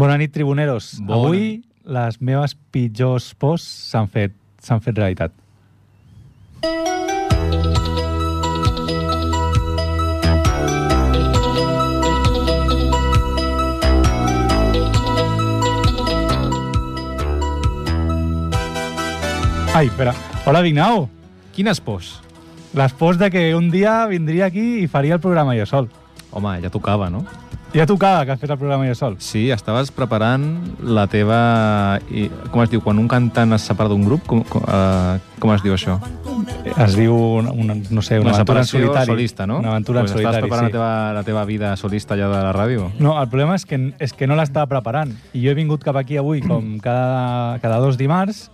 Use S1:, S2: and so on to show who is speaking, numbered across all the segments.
S1: Bona nit, tribuneros.
S2: Bona.
S1: Avui les meves pitjors pors s'han fet, s'han fet realitat. Ai, espera. Hola, Vignau.
S2: Quines pors?
S1: Les pors de que un dia vindria aquí i faria el programa jo sol.
S2: Home, ja tocava, no?
S1: Ja tocava que fes el programa jo sol.
S2: Sí, estaves preparant la teva... i- Com es diu? Quan un cantant es separa d'un grup, com, com, eh, com es diu això?
S1: Es diu, una, una, no sé, una, aventura en
S2: separació
S1: solitari.
S2: solista, no?
S1: Una aventura
S2: Pues
S1: en solitari,
S2: Estaves preparant
S1: sí.
S2: la, teva, la teva vida solista allà de la ràdio?
S1: No, el problema és que, és que no l'estava preparant. I jo he vingut cap aquí avui, com cada, cada dos dimarts,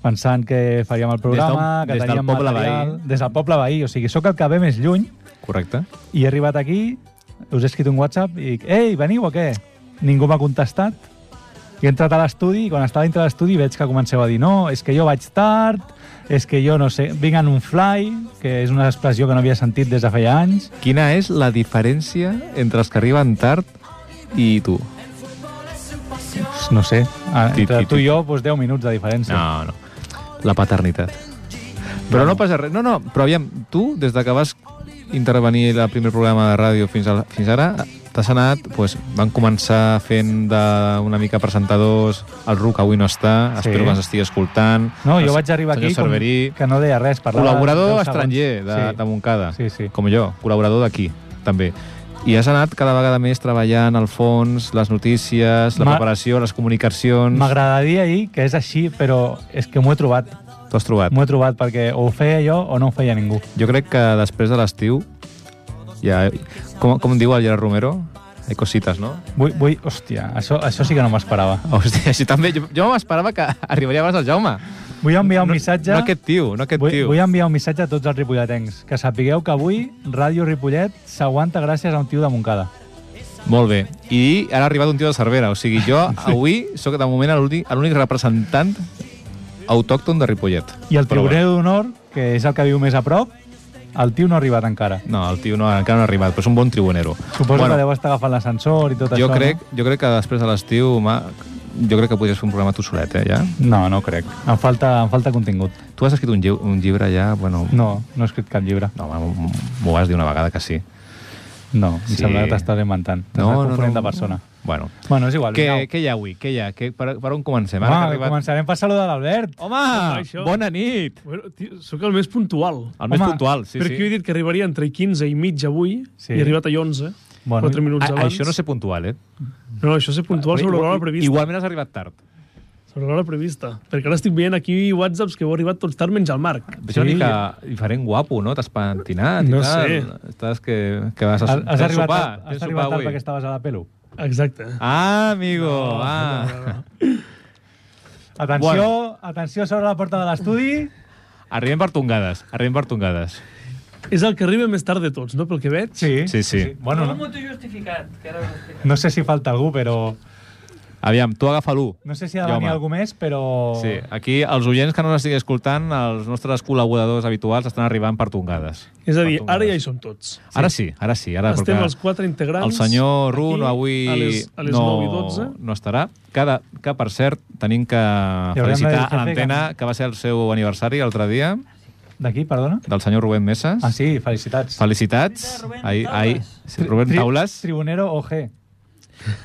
S1: pensant que faríem el programa,
S2: Des d'un- des
S1: que
S2: del
S1: teníem
S2: poble
S1: material...
S2: veí.
S1: Des del poble veí. O sigui, sóc el que ve més lluny
S2: Correcte.
S1: i he arribat aquí, us he escrit un WhatsApp i dic, ei, veniu o què? Ningú m'ha contestat. I he entrat a l'estudi i quan estava dintre de l'estudi veig que comenceu a dir no, és que jo vaig tard, és que jo no sé, vinc en un fly, que és una expressió que no havia sentit des de feia anys.
S2: Quina és la diferència entre els que arriben tard i tu?
S1: No sé, ah,
S2: Ti,
S1: entre
S2: ti,
S1: tu
S2: ti.
S1: i jo, doncs 10 minuts de diferència.
S2: No, no. La paternitat. Però no passa res. No, no, però aviam, tu, des de que vas intervenir el primer programa de ràdio fins, al, fins ara, t'has anat, doncs, van començar fent de, una mica presentadors, el Ruc avui no està,
S1: Sí.
S2: espero que ens estigui escoltant.
S1: No,
S2: el
S1: jo vaig arribar aquí
S2: senyor Cerverí,
S1: com que no deia res. parlava deu
S2: col·laborador
S1: segons.
S2: estranger de, sí. de Montcada,
S1: Sí, sí.
S2: com jo, col·laborador d'aquí, també. I has anat cada vegada més treballant al fons, les notícies, la
S1: Ma-
S2: preparació, les comunicacions...
S1: M'agradaria dir que és així, però és que m'ho he trobat.
S2: T'ho has trobat.
S1: M'ho he trobat perquè o ho feia jo o no ho feia ningú.
S2: Jo crec que després de l'estiu ja... Com, com diu el Gerard Romero? Hi cosites, no?
S1: Vull, vull, hòstia, això, això sí que no m'esperava.
S2: Hòstia, així també... Jo, jo m'esperava que arribaria abans el Jaume.
S1: Vull enviar un
S2: no,
S1: missatge...
S2: No aquest tio, no aquest
S1: Vull,
S2: tio.
S1: vull enviar un missatge a tots els ripolletens. Que sapigueu que avui Ràdio Ripollet s'aguanta gràcies a un tio de Montcada.
S2: Molt bé. I ara ha arribat un tio de Cervera. O sigui, jo avui sóc de moment l'únic l'únic representant autòcton de Ripollet.
S1: I el
S2: Però
S1: tribuner d'honor, que és el que viu més a prop, el tio no ha arribat encara.
S2: bé. No, el tio no, encara no ha arribat, però és un bon tribunero.
S1: Suposo que deu estar agafant l'ascensor i tot
S2: jo,
S1: això.
S2: crec, jo crec que després de l'estiu, ma- jo crec que podries fer un programa tu solet, eh, ja?
S1: No, no, no crec. Em falta, em falta contingut.
S2: Tu has escrit un, lliu, un llibre ja, bueno...
S1: No, no he escrit cap llibre.
S2: No, home, m'ho vas dir una vegada que sí.
S1: No, em
S2: Sí.
S1: sembla que t'estàs inventant. T'estàs no, confonent no, no. de persona.
S2: Bueno.
S1: Bueno, és igual.
S2: Què,
S1: vinga.
S2: què hi ha avui? Què hi ha? Què, per, per on comencem?
S1: Home,
S2: Ara que ha arribat...
S1: començarem per saludar l'Albert.
S2: Home,
S3: Home, això-
S2: bona nit!
S3: Bueno, tio, sóc el més puntual.
S2: El més
S1: Home,
S2: puntual, sí,
S3: Sí, perquè
S2: sí.
S3: jo he dit que arribaria entre 15 i mig avui,
S1: Sí.
S3: sí. i he arribat a 11,
S1: Bueno,
S3: bueno, 4 minuts
S2: A,
S3: abans.
S2: Ah, això no sé puntual, eh?
S3: No, això és ser puntual sobre l'hora prevista.
S2: Igualment has arribat tard.
S3: Sobre l'hora prevista. Perquè ara estic veient aquí whatsapps que heu arribat tots tard menys el Marc.
S2: Ets una mica diferent guapo, no? T'has pentinat i
S3: No
S2: tal.
S3: sé.
S2: Estàs que, que vas a
S1: Has, has
S2: tens
S1: arribat,
S2: sopar,
S1: tard-
S2: tens
S1: has
S2: sopar
S1: arribat tard
S2: avui.
S1: perquè estaves a la pelu.
S3: Exacte.
S2: Ah, amigo! ah.
S1: Atenció, bueno. atenció sobre la porta de l'estudi.
S2: Arribem per tongades, arribem per tongades.
S3: És el que arriba més tard de tots, no? Pel que veig.
S1: Sí.
S2: Sí, sí.
S1: Bueno, no, no sé si falta algú, però...
S2: Aviam, tu agafa l'1.
S1: No sé si ha de venir algú més, però...
S2: Sí, aquí els oients que no l'estigui escoltant, els nostres col·laboradors habituals estan arribant per tongades.
S3: És a dir,
S2: Per tongades.
S3: ara ja hi som tots.
S2: Sí. Ara sí, ara sí. Ara,
S3: Estem
S2: perquè
S3: els quatre integrants
S2: El senyor Ru
S3: aquí
S2: no avui
S3: a les- a les
S2: no,
S3: 9 i 12.
S2: no estarà. Cada, que, per cert, tenim que
S1: de dir
S2: felicitar
S1: que
S2: a l'antena
S1: pega.
S2: que va ser el seu aniversari l'altre dia,
S1: D'aquí, perdona?
S2: del senyor Rubén Meses.
S1: Ah, sí, felicitats.
S2: Felicitats. Ahir, ahir, sí, Rubén
S1: Tri-
S2: Taules.
S1: Tribunero OG.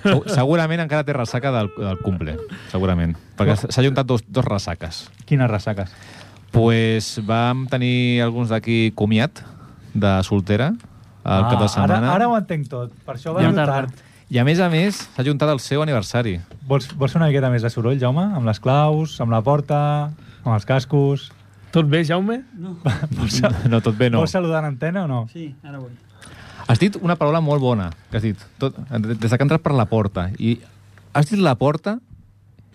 S2: Segu- Segurament encara té ressaca del, del cumple, segurament. Perquè s'ha juntat dos, dos ressaques.
S1: Quines ressaques.
S2: pues vam tenir alguns d'aquí comiat, de soltera, al cap de setmana.
S1: Ah, Ara, ara ho entenc tot. Per això va
S4: Ja
S1: ja
S4: tarda.
S1: tard.
S2: I a més a més, s'ha juntat el seu aniversari.
S1: Vols, vols fer una miqueta més de soroll, Jaume? Amb les claus, amb la porta, amb els cascos...
S3: Tot bé, Jaume?
S4: No,
S2: No, tot bé,
S1: No.
S2: no.
S1: Vols saludar en antena o no?
S4: sí, ara vull.
S2: Has dit una paraula molt bona, que has dit, tot, des que ha entrat per la porta. I has dit la porta,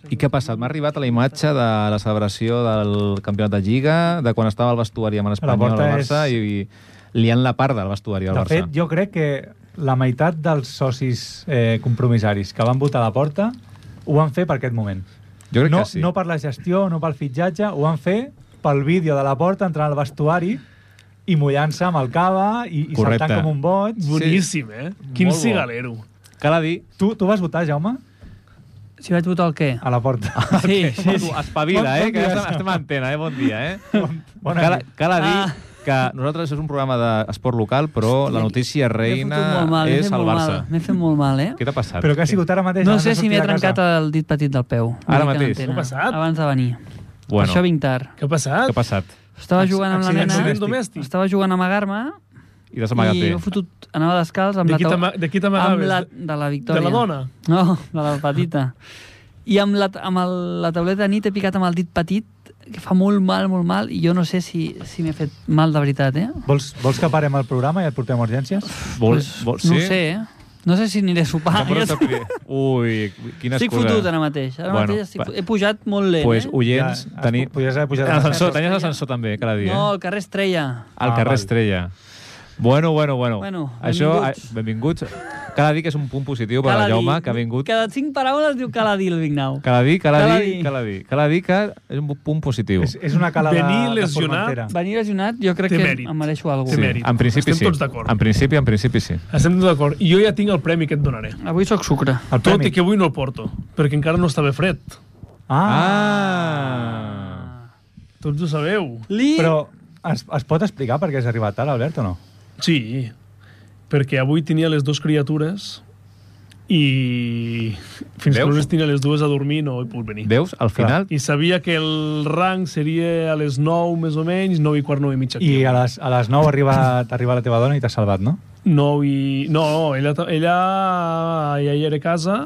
S2: i què ha passat? M'ha arribat a la imatge de la celebració del campionat de Lliga, de quan estava al vestuari amb
S1: La
S2: l'Espanyol
S1: porta
S2: al Barça,
S1: és-
S2: i, i liant la part del vestuari al
S1: De
S2: Barça.
S1: fet, jo crec que la meitat dels socis eh, compromisaris que van votar a la porta ho van fer per aquest moment.
S2: Jo crec
S1: no,
S2: que sí.
S1: no per la gestió, no pel fitxatge, ho van fer pel vídeo de la porta entrant al vestuari i mullant-se amb el cava i, i
S2: Correcte.
S1: saltant com un boig.
S3: Boníssim, eh? Quin
S2: Molt bo.
S3: cigalero.
S2: Cal a dir
S1: Tu, tu vas votar, Jaume?
S4: Si vaig votar el què?
S1: a la porta.
S4: Sí, sí,
S2: Tu, espavila,
S1: Bon-
S2: eh?
S1: bon
S2: Que
S1: dia.
S2: estem, estem a antena, eh? Bon dia, eh?
S1: Bona
S2: cal,
S1: nit.
S2: cal dir
S4: Ah.
S2: que nosaltres és un programa d'esport local, però la notícia
S4: M'he fotut
S2: reina
S4: molt mal, eh? m'he
S2: és
S4: fet
S2: el
S4: molt
S2: Barça.
S4: mal, M'he fet molt mal, eh?
S2: Què t'ha passat?
S1: Però que ha sigut ara mateix?
S4: No
S1: abans de
S4: sé si m'he
S1: sortir de casa.
S4: trencat el dit petit del peu.
S2: Ara
S4: Una mica
S2: mateix.
S4: d'antena,
S3: Què ha passat?
S4: Abans de venir. Per
S2: Bueno,
S4: això vinc tard.
S3: Què ha passat?
S2: què ha passat?
S4: Estava jugant amb la
S1: accident
S4: nena,
S3: Accident domèstic.
S4: estava jugant a amagar-me
S2: I t'has amagat
S4: i
S2: bé.
S4: he fotut, anava descalç amb
S3: De
S4: la,
S3: qui
S4: taula-
S3: t'ama- de qui
S4: amb
S3: t'amagaves?
S4: la,
S3: De-
S4: de la Victòria.
S3: De la dona?
S4: No, de la petita. I amb la, amb el, la tauleta de nit he picat amb el dit petit, que fa molt mal, molt mal, i jo no sé si, si m'he fet mal de veritat, eh?
S1: Vols, vols que parem el programa i et portem a urgències?
S2: Vol, vol,
S4: No ho sé, eh? No sé si aniré a sopar.
S2: Tampoc no
S4: Ja
S2: t'ho diré. Ui, quina
S4: estic
S2: excusa.
S4: fotut ara mateix. Ara
S2: Bueno,
S4: bueno, mateix estic,
S2: va.
S4: fo- he pujat molt lent,
S2: pues,
S4: eh?
S2: oients,
S1: Ja,
S2: ja,
S1: has-
S2: tenir...
S1: Podries haver pujat a
S2: L'ascensor, tenies l'ascensor també, cada dia.
S4: No,
S2: No.
S4: el carrer Estrella.
S2: eh? Al
S1: Ah,
S2: carrer
S1: val.
S2: Estrella. Bueno, bueno, bueno.
S4: Bueno,
S2: Això,
S4: benvinguts.
S2: ah, benvinguts. Cal dir que és un punt positiu per
S4: Cal
S2: a
S4: a dir-
S2: Jaume, que ha vingut.
S4: Cada cinc paraules diu cal a dir el Vignau.
S2: Cal dir, cal
S4: Cal a
S2: dir,
S4: dir.
S2: cal dir. Cal dir que és un punt positiu.
S1: És, és una calada
S3: Venir
S1: de
S3: lesionat.
S1: Formentera.
S4: Venir lesionat, jo crec
S3: Té
S4: que
S3: mèrit.
S4: em mereixo alguna
S3: Té
S4: cosa.
S3: mèrit.
S2: en principi
S3: Estem
S2: sí.
S3: tots d'acord.
S2: En principi, en principi sí.
S3: Estem tots d'acord. I jo ja tinc el premi que et donaré.
S4: Avui sóc sucre.
S1: El
S3: Tot
S1: premi.
S3: i que avui no el porto, perquè encara no estava fred.
S1: Ah,
S2: Ah!
S3: Tots ho sabeu.
S4: Li...
S1: però es, es pot explicar per què has arribat tard, Albert, o no?
S3: Sí, perquè avui tenia les dues criatures i fins que
S2: Veus?
S3: no les tenia les dues a dormir no he pogut venir.
S2: Veus? Al final...
S3: I sabia que el rang seria a les 9 més o menys, 9 i quart, 9 i mitja.
S1: I a les, a les 9 arriba, arriba la teva dona i t'has salvat, no?
S3: 9 i... No, no, ella, ta- ella ja hi era a casa,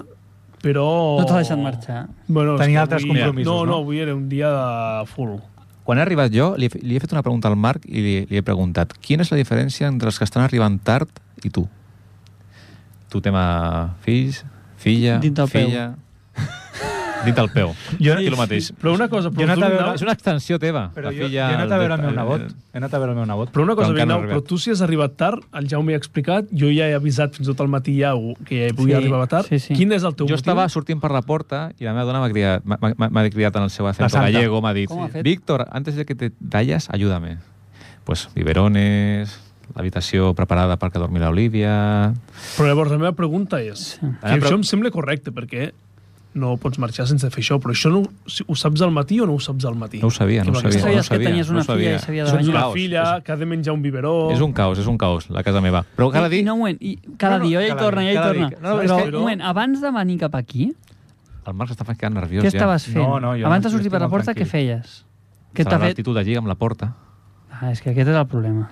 S3: però...
S4: No t'ha deixat marxar.
S3: Bueno, és
S1: Tenia
S3: que
S1: altres
S3: avui-
S1: compromisos,
S3: no?
S1: no?
S3: No, avui era un dia de full.
S2: Quan he arribat jo, li he, li he fet una pregunta al Marc i li, li he preguntat quina és la diferència entre els que estan arribant tard i tu? Tu tema fills, filla,
S4: Dit del peu.
S2: filla... Dit del peu.
S1: Jo-
S2: Jo el mateix.
S3: Però una cosa,
S1: Jo he
S3: però,
S1: anat
S3: tu,
S1: a
S3: Vignau,
S1: veure-
S2: És una extensió teva.
S1: Però
S2: la
S1: jo, jo
S2: filla, eh,
S1: he anat a
S2: el-
S1: veure el meu
S2: el-
S1: nebot. He anat a veure el meu nebot.
S3: però una cosa,
S2: Com que
S3: Vignau,
S2: no
S3: però
S2: arribat.
S3: tu si has arribat tard, el Jaume ja ha explicat, jo ja he avisat fins i tot al matí ja ho- que ja hi podia
S4: Sí,
S3: arribar tard.
S4: sí, sí.
S3: Quin és el teu
S2: Jo
S3: motiu?
S2: estava sortint per la porta i la meva dona m'ha cridat, m'ha- m'ha- m'ha cridat en el seu acento
S1: santa.
S2: gallego, m'ha dit,
S4: Com ha fet?
S2: Víctor, antes de que te talles, ayúdame. Pues biberones, l'habitació preparada perquè dormi l'Olivia...
S3: Però llavors la meva pregunta és, que
S2: Ah, però-
S3: això em sembla correcte, perquè no pots marxar sense fer això, però això no, si ho saps al matí o no ho saps al matí?
S2: No ho sabia, no ho
S3: Que
S2: sabia.
S4: Tu sabies
S2: no ho sabia,
S4: que tenies
S2: no
S4: una
S2: ho sabia.
S4: filla i s'havia de
S3: Això és una
S4: banyar.
S2: Caos,
S3: filla que ha de menjar un biberó...
S2: És un caos, és un caos, la casa meva. Eh, Però cal dir...
S4: I, no, un moment, i cada
S1: No, no,
S4: dia, ella hi
S1: cada
S4: torna,
S1: dia,
S4: ella hi
S2: cada
S4: torna.
S2: dia. No,
S4: però,
S2: és que-
S4: un moment, abans de venir cap aquí,
S2: El Marc s'està quedant nerviós
S4: què
S2: ja.
S4: estaves fent?
S1: No, no, jo
S4: abans
S1: no,
S4: de sortir
S1: jo
S4: per la
S1: estic molt
S4: porta, què
S1: tranquil.
S4: feies? Què t'ha
S2: Serà
S4: fet?
S2: l'actitud de lliga amb la porta.
S4: Ah, és que aquest és el problema.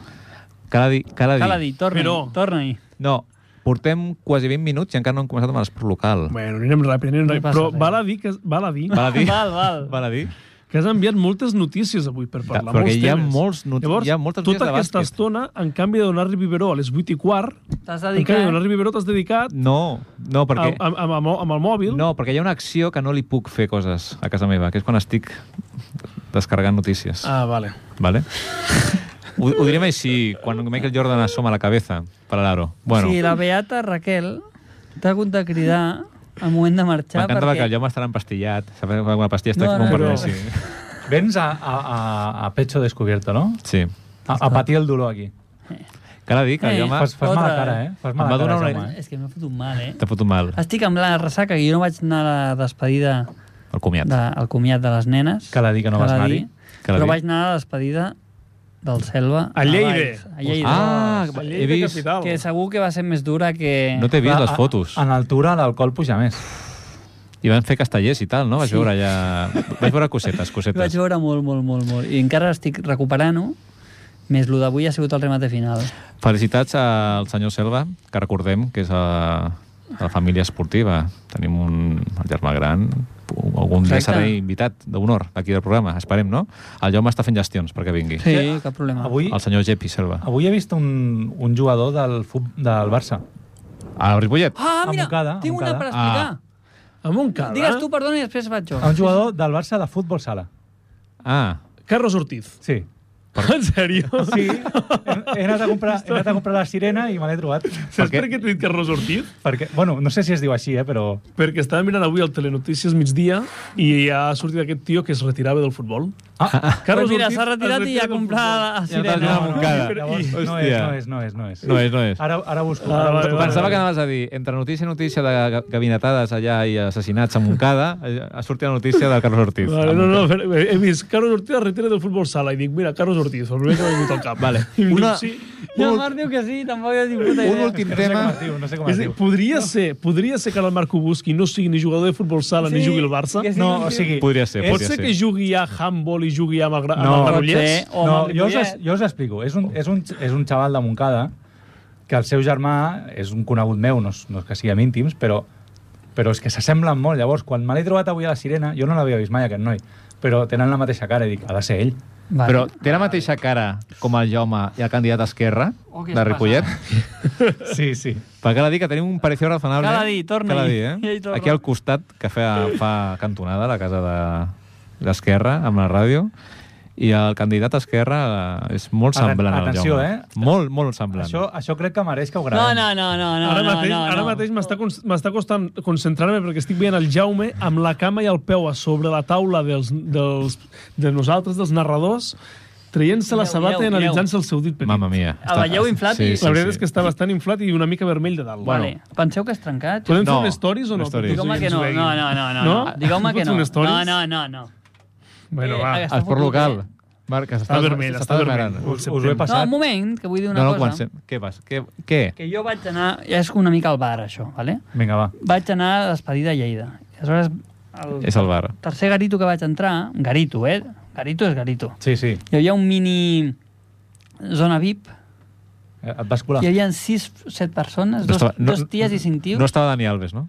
S2: Cal dir... Cal dir...
S4: Cal a dir, torna-hi,
S3: Però-
S4: torna-hi.
S2: No, portem quasi 20 minuts i encara no hem començat amb l'esport local.
S3: Bueno, anirem ràpid, anirem
S4: No
S3: ràpid.
S4: passa
S3: Però
S4: res.
S3: val a dir que, val a dir
S2: Val a dir...
S4: Val, val.
S2: Val a dir...
S3: que has enviat moltes notícies avui per
S2: Que,
S3: parlar.
S2: perquè
S3: molts
S2: hi ha,
S3: temes.
S2: molts, noti-
S3: Llavors,
S2: hi ha moltes
S3: tota
S2: notícies de
S3: aquesta
S2: bàsquet.
S3: estona, en canvi de donar-li biberó a les 8 i quart,
S4: T'has
S3: en canvi de
S4: dedicat...
S3: donar-li biberó t'has dedicat
S2: No, no, perquè...
S3: a, a, a, amb, amb el mòbil.
S2: No, perquè hi ha una acció que no li puc fer coses a casa meva, que és quan estic descarregant notícies.
S3: Ah, vale.
S2: Vale? ho, ho direm així, quan Michael Jordan assoma la cabeza per a l'aro. Bueno,
S4: Sí, la Beata Raquel t'ha hagut de cridar al moment de marxar
S2: m'encanta perquè
S4: perquè...
S2: el Jaume estarà empastillat. Saps que quan la pastilla està
S4: No,
S2: no,
S4: no,
S2: com per
S3: però-
S2: Messi.
S1: Vens a, a, a, a pecho descubierto, no?
S2: Sí.
S1: A, a patir el dolor aquí.
S2: Cal dir que el
S4: Eh,
S2: Jaume
S1: Fas, fas mala
S4: Otra.
S1: cara, eh? Fas
S2: Em
S1: mala
S2: va donar
S1: cara,
S2: una-
S1: Jaume, eh?
S4: És que m'he fotut mal, eh?
S2: t'ha fotut mal
S4: Estic amb la ressaca, que jo no vaig anar a la despedida
S2: el comiat.
S4: de, al comiat de les nenes.
S1: Cal a dir que no
S4: Cal
S1: vas
S4: a
S1: anar-hi.
S4: dir.
S2: Cal a
S4: Però
S2: dir.
S4: vaig anar a la despedida del Selva.
S3: A Lleida.
S4: Valls, A Lleida.
S2: Ah,
S3: A
S2: he
S3: Lleida
S2: vist...
S3: capital.
S4: Que segur que va ser més dura que...
S2: No t'he vist
S1: Clar,
S2: les
S1: a-
S2: fotos.
S1: En altura l'alcohol puja més.
S2: I van fer castellers i tal, no? Vaig
S4: Sí.
S2: veure allà... Vaig veure cosetes,
S4: Vaig
S2: cosetes.
S4: veure molt, molt, molt, molt. I encara estic recuperant-ho, més lo d'avui ha sigut el remate final.
S2: Felicitats al senyor Selva, que recordem que és a, de la família esportiva. Tenim un el germà gran, algun dia
S4: Exacte.
S2: serà invitat d'honor aquí del programa, esperem, no? El Jaume està fent gestions perquè vingui.
S4: Sí, cap problema.
S1: Avui,
S2: El senyor Jepi Selva.
S1: avui he vist un, un jugador del, fut, del Barça.
S2: A Ripollet?
S4: Ah,
S1: A
S4: mira,
S1: Montcada, a
S4: tinc una
S1: Montcada.
S4: per explicar.
S1: Ah.
S3: A Montcada.
S4: Digues tu, perdona, i després vaig jo.
S1: Un jugador del Barça de futbol sala.
S2: Ah,
S3: Carlos Ortiz.
S1: Sí.
S3: En sèrio?
S1: Sí, he, he, anat a comprar, he anat a comprar la sirena i me l'he trobat.
S3: Saps
S2: Per què?
S3: per què t'he dit Carlos Ortiz?
S1: Perquè, bueno, no sé si es diu així, eh, però...
S3: Perquè estava mirant avui el Telenotícies migdia i ha sortit aquest tio que es retirava del futbol.
S1: Ah,
S4: Carlos pues mira,
S3: Ortiz
S4: s'ha retirat
S3: es
S4: i
S3: retira
S4: a
S3: del
S4: comprar a
S2: Ja
S4: Sirena.
S2: t'has anat a Montcada.
S1: No, llavors, no és,
S2: Hòstia.
S1: no és, no és, no és.
S2: No és, no és.
S1: Ara, ara busco.
S3: Ah,
S1: Ara
S3: vale,
S1: busco.
S3: vale,
S2: Pensava que
S3: vale.
S2: anaves a dir, entre notícia i notícia de ga- gabinetades allà i assassinats a Montcada, eh, ha sortit la notícia del Carlos Ortiz.
S3: Vale, no, no, però eh, he vist Carlos Ortiz es retira del futbol sala i dic, mira, Carlos Ortiz, el primer que m'ha vingut al cap. Vale. I em
S2: Una-
S3: dic, sí.
S4: I el
S2: Un-
S4: Marc diu que sí, tampoc hi ha tingut
S2: Un
S4: idea.
S2: últim
S1: Que no sé com
S2: tema...
S1: es diu, no sé com
S3: És
S1: es
S3: a dir,
S1: diu.
S3: podria ser, podria ser que ara el Marco Busqui no sigui ni jugador de futbol sala sí, ni
S4: Sí,
S3: jugui al Barça. Eh,
S4: que sí.
S1: No, o sigui...
S2: Podria ser,
S1: és-
S3: Pot
S2: podria
S3: ser que jugui a handball i jugui amb el, gra-
S1: No.
S3: amb el Granollers?
S4: Pot ser. O
S1: no,
S4: amb el
S1: jo, us,
S4: Ripollet.
S1: jo us explico. És un, és, un, és un xaval de Montcada que el seu germà és un conegut meu, no és, no és que siguem íntims, però, però és que s'assemblen molt. Llavors, quan me l'he trobat avui a la Sirena, jo no l'havia vist mai, aquest noi, però tenen la mateixa cara i dic, ha de ser ell.
S4: Vale.
S2: Però té la mateixa cara com el Jaume i el candidat d'Esquerra,
S4: Oh, què
S2: de
S4: es
S2: Ripollet.
S1: Sí, sí.
S2: Perquè cal dir que tenim un parecido razonable.
S4: Cal dir, torna-hi.
S2: Cal dir,
S4: I
S2: eh?
S4: ell torna.
S2: Aquí al costat, que fa, fa cantonada, la casa de l'Esquerra, amb la ràdio, i el candidat d'Esquerra eh, és molt
S1: Aten-
S2: semblant al
S1: atenció,
S2: Jaume.
S1: eh?
S2: Molt, molt semblant.
S1: Això, això crec que mereix que ho
S4: No,
S1: gravem.
S4: no, no, no, no.
S3: ara mateix,
S4: no, no,
S3: ara
S4: no.
S3: mateix m'està cons- m'està costant concentrar-me perquè estic veient el Jaume amb la cama i el peu a sobre la taula dels, dels, de nosaltres, dels narradors, traient-se la
S4: Mireu,
S3: sabata i
S4: mireu,
S3: analitzant-se el seu dit petit.
S2: Mamma mia.
S4: El veieu inflat i-
S3: La veritat és que està bastant inflat i una mica vermell de dalt.
S4: Vale. Penseu que és trencat?
S3: Podem
S2: No,
S3: fer un stories o no?
S2: un stories.
S4: Digueu-me que no. No, no, no. no,
S3: No?
S4: no. Digueu-me que
S3: Pots
S4: no.
S3: un stories?
S4: No, no, no. no.
S3: Bueno,
S4: Eh,
S3: va.
S4: aquesta-
S2: Esport local. Marc, que
S3: Està
S2: s'està
S3: vermell,
S2: s'està
S3: està vermell.
S2: desmadrant.
S1: Us, us ho he
S4: No,
S1: passat.
S4: un moment, que vull dir una
S2: No, no,
S4: cosa.
S2: comencem. Què vas? Què? què?
S4: Que jo vaig anar... Ja és una mica al bar, això, vale?
S1: Vinga, va.
S4: Vaig anar a despedida a Lleida. I aleshores, el
S2: És el bar.
S4: tercer garito que vaig entrar... Garito, eh? Garito és garito.
S1: Sí, sí.
S4: Hi havia un mini zona VIP.
S1: Eh, Et vas colar.
S4: Hi havia 6 set persones,
S2: No
S4: dos,
S2: estava- no-
S4: dos ties i cinc tios.
S2: No estava Dani Alves, no?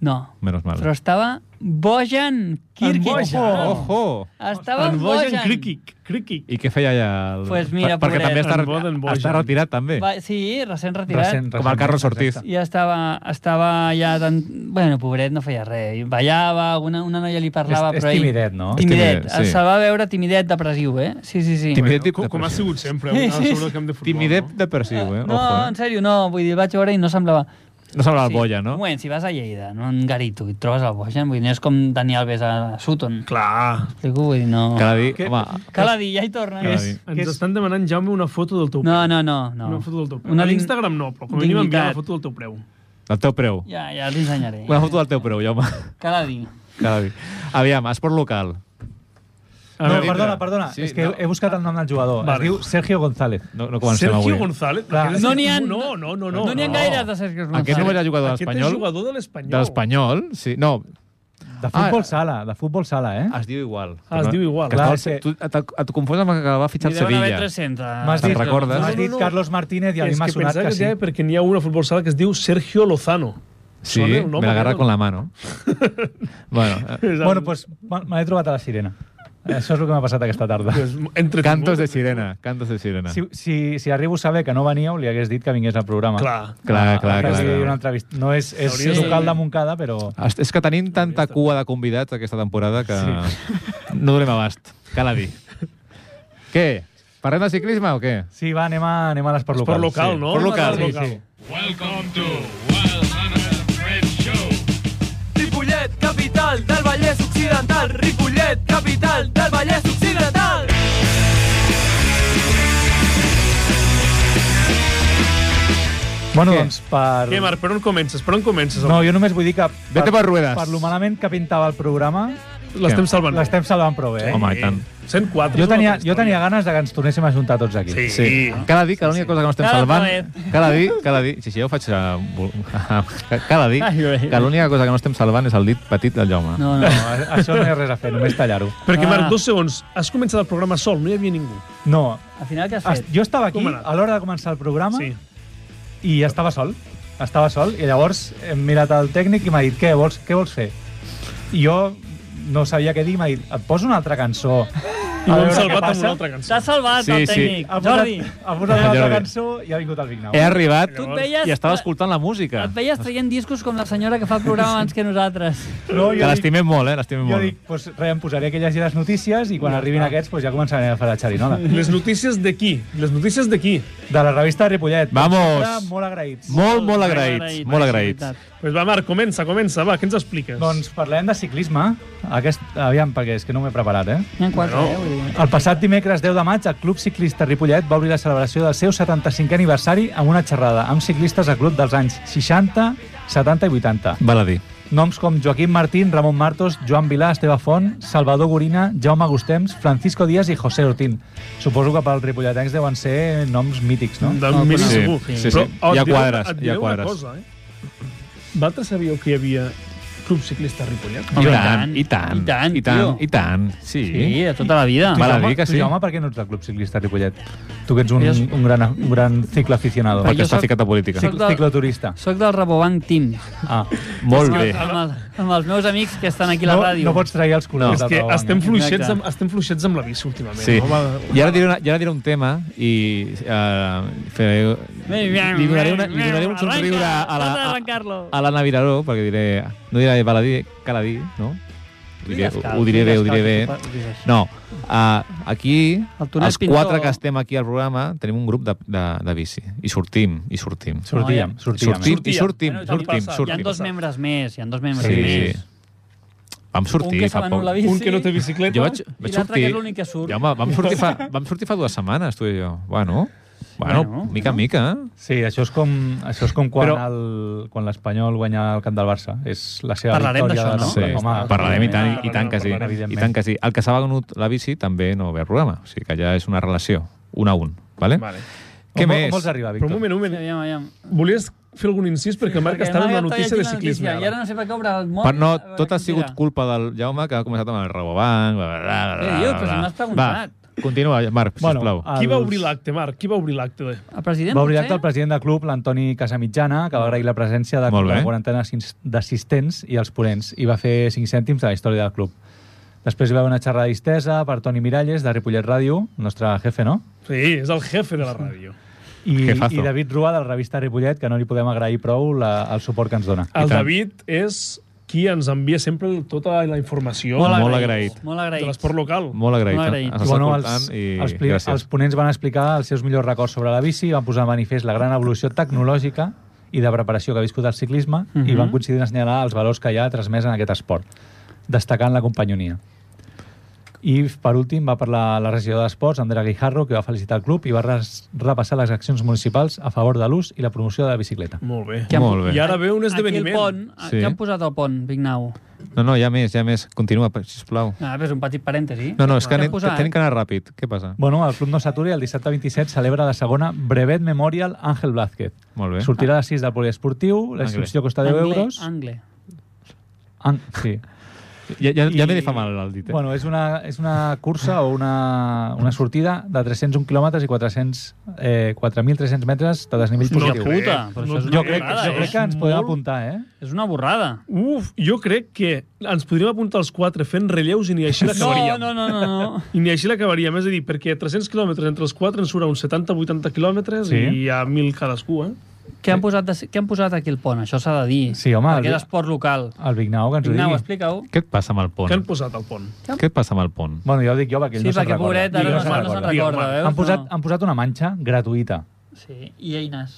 S4: No,
S2: Menos mal.
S4: però estava Bojan Kirkic.
S3: Bojan.
S2: Ojo!
S4: Estava
S3: en Bojan
S4: Bojan.
S3: Krikic. Krikic.
S2: I què feia allà? El...
S4: Pues mira,
S2: Per- Perquè
S4: pobret,
S2: també està,
S3: en Boden,
S2: està
S3: Bojan.
S2: retirat, també.
S4: Va, sí, recent retirat.
S1: Recent,
S2: Com el Carlos Ortiz.
S1: exacte.
S4: I estava, estava ja tan... Bueno, pobret, no feia res. I Ballava, una, una noia li parlava,
S1: És- és
S4: però ell...
S1: timidet, no?
S2: És
S4: Timidet.
S2: timidet, sí.
S4: sí. Se va veure timidet depressiu, eh? Sí, sí, sí.
S2: Timidet i
S3: Com, com ha
S2: depressiu.
S3: sigut sempre,
S4: Sí,
S3: sí,
S4: sí,
S3: sí. sobre el camp de futbol.
S2: Timidet
S3: No?
S2: depressiu, eh?
S4: No,
S2: Ojo,
S4: en
S2: eh?
S4: sèrio, no. Vull dir, el vaig veure i no semblava...
S2: No semblava el Boya, no?
S4: Un moment, si vas a Lleida, no en Garito, i et trobes el Bojan, vull dir, no és com Dani Alves a Sutton.
S3: Clar.
S4: Explico, vull dir, no...
S2: Cal dir,
S1: Què-
S2: home,
S4: Cala dir, ja hi torna.
S2: Cala dir.
S3: Ens estan demanant, Jaume, una foto del teu preu.
S4: No, no, no. no.
S3: Una foto del teu preu.
S4: Una
S3: a
S4: dig-
S3: l'Instagram no, però com a mínim enviar
S4: dignitat.
S3: la foto del teu preu.
S2: el teu preu.
S4: Ja, ja t'ensenyaré.
S2: Una foto del teu preu, Jaume.
S4: Cala dir.
S2: Cal dir. Aviam, esport local.
S3: A
S1: No,
S3: veure,
S1: perdona, perdona.
S2: Sí,
S1: és que
S2: no.
S1: he buscat el nom del jugador.
S3: Vale.
S1: Es diu Sergio González.
S2: No, no comencem
S3: Sergio
S2: avui. eh?
S3: González.
S1: Clar.
S3: Aquest és-
S4: No n'hi ha-
S3: No, no, no.
S4: No n'hi ha gaires de Sergio González.
S2: Aquest no era jugador
S3: Aquest és
S2: d'Espanyol.
S3: jugador de l'Espanyol.
S2: De l'Espanyol, sí. No,
S1: De futbol
S2: Ah,
S1: sala, de futbol sala, eh?
S2: es diu igual.
S3: Ah, es diu igual.
S2: Que
S1: Clar,
S2: estava-
S1: que-
S2: tu, et, et confons amb el que va fitxar el
S4: Deuen haver
S2: Sevilla.
S4: 300.
S1: M'has
S2: te'n
S1: dit,
S2: recordes?
S1: m'has
S3: No, no,
S1: dit
S3: no.
S1: Carlos Martínez i a mi
S3: és
S1: m'ha
S3: que
S1: sonat
S3: pensava
S1: que
S3: que,
S1: sí.
S3: ja, perquè n'hi ha una futbol sala que es diu Sergio Lozano.
S2: Sí,
S3: Sona el nom,
S2: me l'agarra
S3: aquest.
S2: con la mano. bueno, eh,
S1: Bueno, doncs me me l'he trobat a la sirena. Això és el que m'ha passat aquesta tarda.
S3: Pues, entre
S2: cantos de sirena, cantos de sirena.
S1: Si, si, si arribo a saber que no veníeu, li hagués dit que vingués al programa.
S3: Clar.
S2: Clar, clar,
S1: Que
S3: Ah,
S2: clar.
S1: sigui una entrevista. No és, és
S3: Hauria
S4: de-
S1: local de Montcada, però...
S2: Es- És que tenim tanta cua de convidats aquesta temporada que no donem abast. Cal a dir. Què? Parlem de ciclisme o què?
S1: Sí, va, anem a, anem a l'esport local.
S3: Per local, no?
S2: per local,
S1: Sí,
S3: local.
S1: sí.
S5: Welcome to Wild Hunter Red Show.
S6: Ripollet, capital del Vallès Occidental. Ripollet, capital del Vallès Occidental.
S1: Bueno,
S2: Què?
S1: doncs, per...
S3: Què, Marc, per on comences? Per on comences?
S1: No, jo només vull dir que... per-
S2: Vete per ruedes.
S1: Per lo malament que pintava el programa,
S3: L'estem salvant.
S1: l'estem salvant prou bé. Eh?
S2: Home, i tant.
S3: 104.
S1: Jo
S3: és una
S1: tenia,
S3: altra
S1: jo tenia ganes de que ens tornéssim a juntar tots aquí.
S3: història. Sí.
S2: Sí. Cal a dir que l'única cosa que no estem
S4: Cada
S2: salvant...
S4: vegada.
S2: Cal a dir, cal a dir... Sí, sí, ja ho faig... eh, vol- Cal a dir que l'única cosa que no estem salvant és el dit petit del Jaume.
S4: No, no.
S1: No, a- això no hi ha res a fer, només tallar-ho.
S3: Perquè,
S4: Ah.
S3: Marc, dos segons. Has començat el programa sol, no hi havia ningú.
S1: No,
S4: Al final què has
S1: es-
S4: fet?
S1: jo estava aquí
S3: Com ha anat?
S1: a l'hora de començar el programa
S3: Sí.
S1: i estava sol. Estava sol i llavors hem mirat el tècnic i m'ha dit què vols, què vols fer? I jo no sabia què dir, m'ha dit et poso una altra cançó.
S3: I
S1: a veure
S3: m'hem
S1: què
S3: salvat amb
S1: passa".
S3: una altra cançó.
S4: T'has salvat
S2: Sí, sí.
S4: el tècnic,
S1: Ha posat,
S4: Jordi.
S1: ha posat una altra
S2: Jordi.
S1: cançó i ha vingut el Vignau.
S3: Eh,
S2: He arribat
S4: Tu et veies-
S2: i estava escoltant la música.
S4: Et veies traient discos com la senyora que fa el programa abans que nosaltres.
S1: No,
S2: Que
S1: jo dic,
S2: l'estimem molt, eh? L'estimem
S1: jo
S2: molt.
S1: dic pues, res, em posaré aquelles i les notícies i quan arribin aquests pues, ja començarem a fer la xerinola.
S3: Les notícies d'aquí. Les notícies d'aquí.
S1: De la revista de Ripollet. com
S2: Vamos.
S1: sempre, Molt agraïts.
S2: Molt, molt agraïts. Molt agraïts.
S3: Pues va, Marc, comença, comença, va, què ens expliques?
S1: Doncs parlem de ciclisme. Aquest, aviam, perquè és que no m'he preparat, eh?
S4: N'hi ha quatre,
S3: Bueno,
S4: eh? Vull dir
S1: El passat dimecres 10 de maig, el Club Ciclista Ripollet va obrir la celebració del seu 75è aniversari amb una xerrada amb ciclistes al club dels anys 60, 70 i 80.
S2: Val a dir.
S1: Noms com Joaquim Martín, Ramon Martos, Joan Vilà, Esteve Font, Salvador Gorina, Jaume Agustemps, Francisco Díaz i José Ortín. Suposo que pels ripolletens deuen ser noms mítics, no?
S3: De
S4: No,
S3: mil
S4: sí,
S3: segur. oh,
S4: sí,
S2: sí. Hi ha
S3: et diré-
S2: quadres,
S3: et
S2: hi ha
S3: diré una
S2: quadres.
S3: Cosa, eh? Vosaltres sabíeu que hi havia Club Ciclista Ripollet?
S4: Home,
S2: I tant, i tant,
S4: i tant,
S2: i tant,
S4: tio.
S2: i tant. Sí.
S4: Sí, de tota la vida.
S2: Val a
S1: Jaume,
S2: dir que
S1: tu,
S2: sí.
S1: Jaume, per què no ets del Club Ciclista Ripollet? Tu que ets un,
S4: Jo s-
S1: un, gran, un gran cicloaficionado.
S4: Per
S2: Perquè
S4: jo
S2: està
S4: soc-
S2: ficat a política.
S4: soc-
S1: Cic- Cicloturista.
S4: Soc del Rabobank Team.
S1: Ah.
S2: Molt
S4: Amb,
S2: bé.
S4: amb, el, amb els meus amics que estan aquí a la
S1: No,
S4: ràdio.
S1: no pots trair els
S2: No.
S1: colors
S2: És
S1: del
S3: Que
S1: Rabobank,
S3: estem
S1: eh?
S3: fluixets,
S4: Exacte.
S3: amb, estem fluixets amb la bici últimament.
S2: Sí.
S3: No? Va,
S2: I ara diré, una, i ara diré un tema i eh, faré, li, donaré una, li donaré un somriure a la,
S4: Arranca,
S2: a,
S4: arrancar-lo.
S2: a l'Anna Viraró, perquè diré, no diré baladí, caladir, no? Diré,
S4: Digues,
S2: ho diré bé, ho diré
S4: digues,
S2: bé.
S4: cal, digues.
S2: No, uh, aquí,
S4: El Tonet
S2: els
S4: Pintor.
S2: quatre que estem aquí al programa, tenim un grup de, de, de bici. I sortim, i sortim.
S1: Sortíem,
S4: No,
S1: sortíem.
S2: Sortim, i sortim,
S3: Bueno, i tant
S2: sortim,
S3: passa,
S4: Hi
S2: sortim.
S4: ha dos membres més, hi ha dos membres
S2: Sí,
S4: més.
S2: sí. Vam
S4: un
S2: sortir
S4: que se
S2: fa
S4: va
S2: poc.
S4: la bici
S3: Un que no té bicicleta.
S2: Jo vaig,
S4: i
S2: vaig
S4: l'altre que
S2: sortir...
S4: és l'únic que surt.
S2: Ja, home, vam sortir, fa, vam sortir fa dues setmanes, tu i jo. Bueno, bueno,
S4: Bueno,
S2: bueno mica en mica, eh?
S1: Sí, això és com, això és com quan
S2: Però-
S1: el- quan l'Espanyol guanya el camp del Barça. És la seva
S4: Parlarem
S1: victòria.
S4: d'això, no?
S2: Sí,
S1: de la temporada. Ah, Home,
S2: parlarem i tant, i
S1: evidentment.
S2: tant que sí.
S1: Parlarem,
S2: I tant que sí. El que s'ha venut la bici també no ve al programa. O sigui que ja és una relació, un a un. Vale?
S3: Vale.
S2: Què
S1: on,
S2: més?
S1: On vols arribar,
S3: Però
S1: Víctor?
S3: un moment, un moment.
S4: Aviam, aviam.
S3: Volies fer algun incís? Perquè el Marc
S4: Perquè
S3: està en
S4: Marc
S3: una
S4: està
S3: notícia de
S4: llegint la
S3: ciclisme.
S4: notícia, I ara no sé per què obre el món.
S2: Per no,
S4: a veure
S2: tot
S4: què
S2: ha sigut
S4: tira.
S2: culpa del Jaume, que ha començat amb el Rabobank... Bla, bla, bla, bla,
S4: Què dius? Però si
S2: bla.
S4: m'has preguntat.
S2: Va, continua, Marc,
S1: Bueno,
S2: sisplau.
S1: els-
S3: Qui va obrir l'acte, Marc? Qui va obrir l'acte?
S4: El president,
S1: Va obrir l'acte el
S4: potser?
S1: president del club, l'Antoni Casamitjana, que va agrair la presència de
S2: Molt bé.
S1: la quarantena sis- d'assistents i els ponents, i va fer 5 cèntims de la història del club. Després hi va haver una xerrada distesa per Toni Miralles, de Ripollet Ràdio, nostre jefe, no?
S3: Sí, és el jefe de la ràdio.
S1: I,
S2: Jefazo.
S1: i David Rua, de la revista Ripollet, que no li podem agrair prou la, el suport que ens dona.
S3: El
S2: tant.
S3: David és qui ens envia sempre tota la informació
S2: Molt
S3: de
S2: Molt agraït.
S4: Molt agraït.
S3: l'esport local.
S2: Molt agraït.
S4: molt agraït.
S2: Ens
S1: I,
S2: està
S1: bueno,
S2: escoltant
S1: els,
S2: i
S1: els, pli- els
S2: gràcies.
S1: ponents van explicar els seus millors records sobre la bici, van posar de manifest la gran evolució tecnològica i de preparació que ha viscut el ciclisme
S4: Mhm.
S1: i van coincidir en assenyalar els valors que hi ha transmès en aquest esport, destacant la companyonia. I, per últim, va parlar la regidora d'Esports, Andrea Guijarro, que va felicitar el club i va res, repassar les accions municipals a favor de l'ús i la promoció de la bicicleta.
S3: Molt bé.
S4: Que han-
S2: Molt bé.
S3: I ara ve un
S4: Aquí el pont,
S3: esdeveniment.
S4: sí.
S2: Sí.
S4: que han posat el pont, Vignau.
S2: No, no, hi ha més, hi ha més. Continua, per- sisplau.
S4: Ah, és un petit parèntesi.
S2: No, no, és que,
S4: han
S2: anem, que
S4: posat-
S2: tenim que anar ràpid. Què passa?
S1: Bueno, el club no s'aturi, el dissabte 27 celebra la segona Brevet Memorial Ángel Blázquez.
S2: Molt bé.
S1: Sortirà a les 6 del poliesportiu, la inscripció costa 10
S4: Angle,
S1: euros.
S4: Angle.
S1: An sí.
S2: Ja, ja, ja
S1: I-
S2: me li fa mal el dit. Eh?
S1: Bueno, és una, és una cursa o una, una sortida de 301 quilòmetres i 400, eh, 4.300 metres de desnivell
S3: No
S1: positiu.
S3: crec.
S4: Puta, però
S3: No
S4: això és una
S1: jo, crec,
S4: borrada,
S1: jo
S4: eh?
S1: crec que ens podem
S3: Molt-
S1: apuntar, eh?
S4: És una borrada.
S3: Uf, jo crec que ens podríem apuntar els quatre fent relleus i ni així
S4: No,
S3: l'acabaríem.
S4: no, no, no. no.
S3: I ni així l'acabaríem, és a dir, perquè 300 quilòmetres entre els quatre ens surà uns 70-80 quilòmetres
S1: Sí.
S3: i a 1.000 cadascú, eh?
S4: què, han posat de, què han posat aquí el pont? Això s'ha de dir.
S1: Sí, home,
S4: Perquè
S1: el-
S4: és esport local.
S1: El Vignau, que ens ho
S4: Vignau,
S1: digui.
S4: explica-ho.
S2: Què et passa amb el pont?
S3: Que han posat al pont.
S2: Què et passa amb el pont?
S1: Bueno, ja ho dic jo, perquè ell no
S4: Sí,
S1: se'n
S4: perquè
S1: recorda.
S4: pobret ara
S1: Ell
S4: no,
S3: Digues,
S4: se-
S1: se'n
S3: Marc,
S4: no se'n
S1: recorda.
S3: digues,
S4: recorda,
S3: Marc.
S4: veus?
S1: Han posat,
S4: No.
S1: han posat una manxa gratuïta.
S4: Sí, i eines.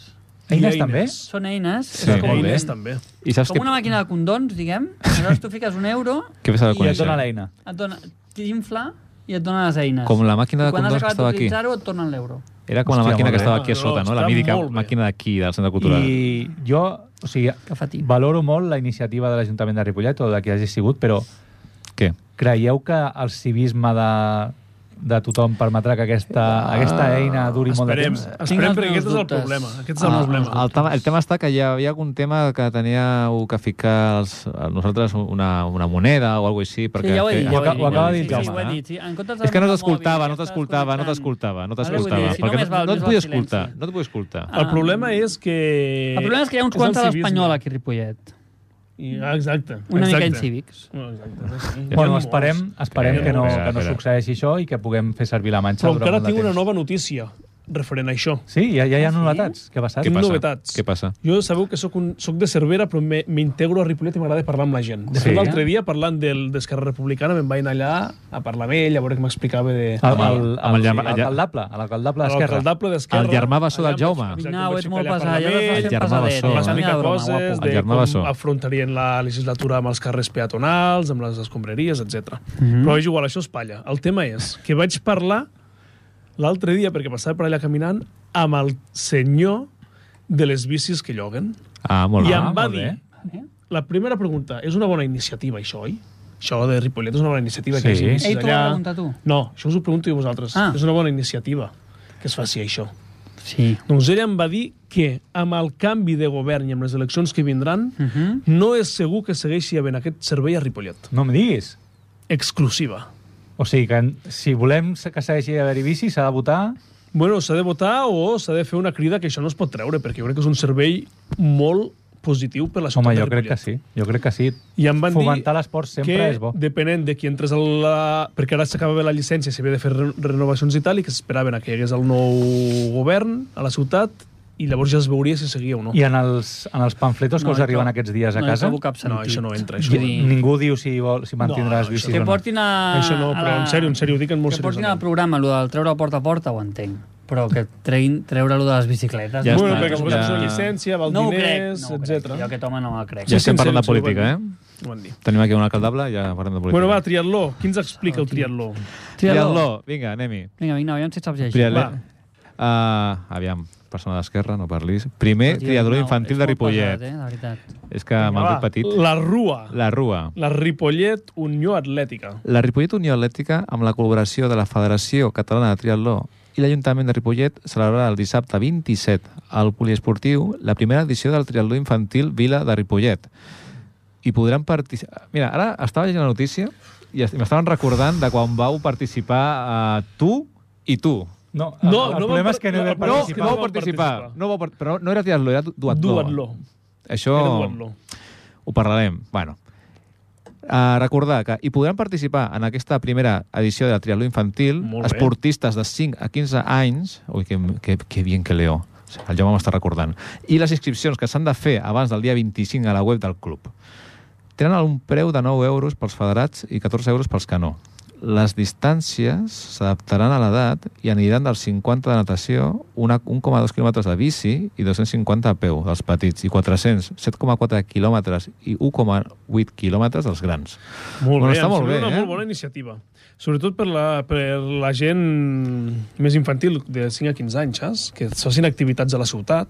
S1: Eines
S3: eines.
S1: també?
S4: Són eines.
S2: Sí,
S4: és
S3: Que
S4: com,
S2: molt bé.
S3: Inés també.
S2: I saps
S4: com
S2: què,
S4: una màquina de condons, diguem. Llavors tu fiques un euro,
S2: què s'ha de
S1: I et
S2: conèixer?
S1: dona l'eina.
S4: et dona, t'infla i et dona les eines.
S2: Com la màquina de
S4: I quan has
S2: condons que
S4: acabat
S2: estava aquí.
S4: d'utilitzar-ho et tornen l'euro.
S2: Era com la
S1: Hòstia,
S2: màquina
S1: molt
S2: que
S1: bé.
S2: estava aquí a
S3: No,
S2: sota, no? La
S3: està
S2: mítica
S3: molt bé.
S2: màquina d'aquí, del Centre Cultural.
S1: I jo, o sigui,
S4: Que fatig.
S1: valoro molt la iniciativa de l'Ajuntament de Ripollet o de qui hagi sigut, però
S2: Què?
S1: creieu que el civisme de, de tothom permetrà que aquesta, aquesta eina duri molt de
S3: Esperem,
S1: temps?
S4: Tinc
S3: esperem
S4: els
S3: perquè
S4: meus
S3: aquest és el
S4: dubtes.
S3: problema. Aquest és el
S4: Ah,
S3: problema.
S2: El tema, el tema està que hi havia algun tema que teníeu que ficar els, nosaltres una, una moneda o alguna així. Perquè
S4: sí, ja ho he dit.
S2: fe-
S4: ja
S1: Ho aca-
S4: he
S1: ho acaba de dir
S4: dit, sí, sí,
S1: Jaume,
S4: ho he
S2: eh?
S4: dit, sí. En comptes de
S2: És que no
S4: mirar el
S2: t'escoltava,
S4: mòbil,
S2: no
S4: estàs
S2: t'escoltava, no t'escoltava, no
S4: Vale, vull
S2: t'escoltava.
S4: dir, si
S2: perquè
S4: només val
S2: no
S4: més
S2: et
S4: el
S2: podia
S4: silenci.
S2: escoltar, no et podia escoltar.
S4: Ah.
S3: El problema és que...
S4: El problema és que hi ha uns quants a l'Espanyol aquí a Ripollet.
S3: ah, Exacte.
S4: Una
S3: exacte.
S4: mica incívics.
S3: Bueno, exacte.
S1: Bueno, esperem, esperem
S2: Espera,
S1: que, no,
S2: espera,
S1: que no
S2: espera.
S1: succeeixi això i que puguem fer servir la manxa
S3: Però
S1: durant
S3: encara
S1: molt de
S3: tinc una
S1: temps.
S3: nova notícia. referent a això.
S1: Sí, ja, ja hi ha
S4: Ah, sí?
S1: novetats. Què ha passat?
S3: Tinc
S2: passa?
S3: novetats.
S2: Què passa?
S3: Jo sabeu que sóc, un, sóc de Cervera, però me- m'integro a Ripollet i m'agrada parlar amb la gent. De
S1: Sí.
S3: fet, l'altre dia, parlant del- d'Esquerra Republicana, me'n vaig anar allà a parlar amb ell, a veure què m'explicava de...
S1: Al,
S2: Amb el-
S1: al,
S2: amb el
S1: al,
S2: llamà-
S1: alcaldable, a l'alcaldable Ah, d'Esquerra.
S3: L'alcaldable d'Esquerra.
S2: El germà bessó del
S3: Allà em vaig-
S2: Jaume.
S3: exacte, em
S4: Vignau,
S3: vaig
S4: ets
S3: ficar
S4: molt
S3: allà a
S4: pesat,
S3: parlar
S4: ja t'has
S3: amb
S4: fet
S3: ell,
S2: El germà
S4: pesadet.
S2: bessó.
S4: eh?
S2: Vas
S3: Vas
S2: a
S4: Mira,
S3: mica
S4: broma,
S3: coses
S4: guapo.
S2: El
S3: de
S2: germà Bessó.
S3: com afrontarien la legislatura amb els carrers peatonals, amb les escombraries, etc.
S4: Mhm.
S3: Però és igual, això és palla. El tema és que vaig parlar l'altre dia, perquè passava per allà caminant, amb el senyor de les bicis que lloguen.
S2: Ah, molt
S3: I
S2: bé.
S3: em va
S1: molt
S3: dir...
S1: bé.
S4: Eh?
S3: La primera pregunta, és una bona iniciativa, això, oi? Això de Ripollet és una bona iniciativa.
S2: Sí.
S3: Que hi hagi bicis
S4: Ell t'ho va
S3: allà.
S4: preguntar a tu?
S3: No, això us ho pregunto jo a vosaltres.
S4: Ah.
S3: És una bona iniciativa que es faci això.
S4: Sí.
S3: Doncs ella em va dir que amb el canvi de govern i amb les eleccions que vindran,
S4: Uh -huh.
S3: no és segur que segueixi havent aquest servei a Ripollet.
S1: No em diguis.
S3: Exclusiva.
S1: O sigui, que en- si volem que segueixi haver-hi bici, s'ha de votar...
S3: Bueno, s'ha de votar o s'ha de fer una crida que això no es pot treure, perquè jo crec que és un servei molt positiu per la
S1: Home,
S3: ciutat
S1: jo
S3: de
S1: crec que
S3: Ripollet.
S1: sí. Jo crec que sí.
S3: I em van
S1: Fomentar
S3: dir
S1: l'esport sempre
S3: que,
S1: és bo.
S3: depenent de qui entres a la... Perquè ara s'acaba bé la llicència, s'havia de fer re- renovacions i tal, i que s'esperaven a que hi hagués el nou govern a la ciutat, i llavors ja es veuria si seguia o no.
S1: I en els, en els pamfletos que
S4: No,
S1: us
S4: hi
S1: arriben
S4: trobo-
S1: aquests dies a
S4: no hi
S1: casa,
S4: trobo cap sentit.
S3: No, això no entra, això.
S1: jo-
S4: Vull dir,
S1: ningú diu si, vol, si mantindrà
S3: No,
S1: les
S3: no,
S1: bicis
S4: Que
S1: o no.
S4: portin a...
S3: Això no, però
S4: a
S3: en sèrio, en sèrio, ho dic en molt
S4: Que portin
S3: seriosament.
S4: al programa, allò del treure porta a porta, ho entenc. Però que treguin, treure-ho de les bicicletes...
S2: Ja
S4: no
S3: bueno,
S2: està,
S3: perquè
S2: ja-
S3: suposo que és una llicència, val
S4: no ho crec,
S3: diners,
S4: no ho crec.
S3: etc.
S4: Jo aquest home no el crec.
S2: Ja
S3: Sí, sí,
S2: estem parlant de
S3: sí, sí, ho van
S2: política, eh?
S3: Ho van dir.
S2: Tenim aquí un alcaldable i ja parlem de política.
S3: Bueno, va, triatló. Qui ens
S4: Ah,
S3: explica el triatló?
S2: Triatló. Vinga, anem-hi.
S4: Vinga, vinga, aviam si et saps llegir.
S2: Triatló.
S3: Va.
S2: Uh, aviam, persona d'esquerra, no parlis. Primer, triador
S4: Vignau,
S2: infantil
S4: ets
S2: de
S4: molt
S2: Ripollet.
S4: pesat, eh, de veritat.
S2: És que m'han fet petit.
S3: La Rua. La,
S2: La Rua.
S3: la Ripollet Unió Atlètica.
S2: La Ripollet Unió Atlètica, amb la col·laboració de la Federació Catalana de Triatló i l'Ajuntament de Ripollet, celebrarà el dissabte 27 al Poliesportiu la primera edició del triatló infantil Vila de Ripollet. I podran participar... Mira, ara estava llegint la notícia i est- m'estaven recordant de quan vau participar a tu i tu.
S1: No, el, el
S3: No, no
S1: problema
S3: van-
S1: és que no,
S3: no,
S1: hi vam
S3: no,
S2: No,
S1: participar.
S2: no vau
S3: vau
S2: participar.
S3: participar.
S2: No vau par però no era triatló, era du- duatló.
S3: Duatló.
S2: Això...
S3: Era duatló.
S2: Ho parlarem. Bueno, a recordar que hi podran participar en aquesta primera edició de triatló infantil
S3: Molt bé.
S2: esportistes de 5 a 15 anys. Ui, que, que, que bien que leo. El Jaume m'està recordant. I les inscripcions que s'han de fer abans del dia 25 a la web del club. Tenen un preu de 9 euros pels federats i 14 euros pels que no. Les distàncies s'adaptaran a l'edat i aniran dels 50 de natació, una- 1,2 quilòmetres de bici i 250 a peu dels petits i 400, 7,4 quilòmetres i 1,8 quilòmetres dels grans.
S3: Molt
S2: Bueno,
S3: bé,
S2: està
S3: em
S2: molt
S3: sembla
S2: bé,
S3: una
S2: eh?
S3: molt bona iniciativa. Sobretot per la, per la gent més infantil, de 5 a 15 anys, saps? Que facin activitats a la ciutat,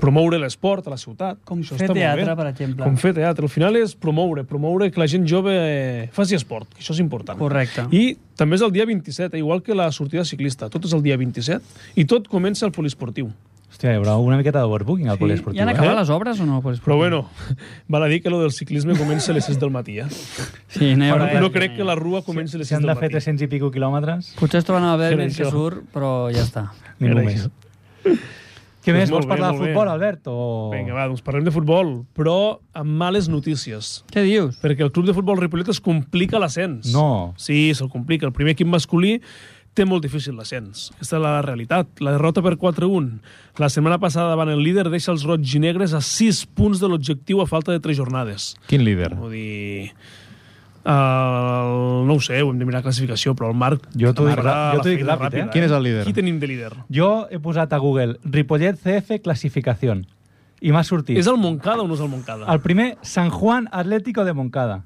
S3: promoure l'esport a la ciutat.
S4: Com
S3: Això
S4: fer
S3: està molt
S4: teatre,
S3: bé.
S4: per exemple.
S3: Com fer teatre. Al final és promoure, promoure que la gent jove faci esport, que això és important.
S4: Correcte.
S3: I també és el dia 27, eh? igual que la sortida ciclista. Tot és el dia 27 i tot comença al poliesportiu.
S1: Hòstia, hi haurà una miqueta d'overbooking al poliesportiu.
S4: Ja han
S1: eh?
S4: acabat les obres o no?
S3: Però bueno, val a dir que lo del ciclisme comença a les 6 del matí. Eh?
S4: Sí, no, hi haurà
S3: No
S4: res.
S3: crec que la rua comenci a les
S1: Si
S3: 6
S1: han de
S3: del
S1: fer
S3: matí.
S1: 300 i pico quilòmetres,
S4: Potser es troben a
S3: Era
S4: l'Albert que
S3: això.
S4: surt, però ja està.
S1: ningú
S3: Era
S1: més.
S3: això.
S1: Què
S3: Doncs
S1: més? Vols
S3: molt bé,
S1: parlar de
S3: molt bé.
S1: futbol, Albert? O...
S3: Vinga, va, doncs parlem de futbol, però amb males notícies.
S4: Què dius?
S3: Perquè el club de futbol Ripollet es complica l'ascens.
S1: No.
S3: Sí, se'l complica. El primer equip masculí té molt difícil l'ascens. Aquesta és la realitat. La derrota per 4-1. La setmana passada davant el líder deixa els roig i negres a 6 punts de l'objectiu a falta de 3 jornades.
S2: Quin líder?
S3: Vull dir... Uh, no ho sé, ho hem de mirar la classificació, però el Marc...
S1: Jo t'ho dic
S3: amarrà
S1: rà- jo
S3: la
S1: t'ho dic
S3: feina
S1: ràpid, eh?
S3: ràpida,
S2: Quin és el líder?
S3: Qui tenim de líder?
S1: Jo he posat a Google Ripollet CF classificació i m'ha sortit
S3: És
S1: el...
S3: el Moncada o no és el Moncada?
S1: el primer San Juan Atlético de Moncada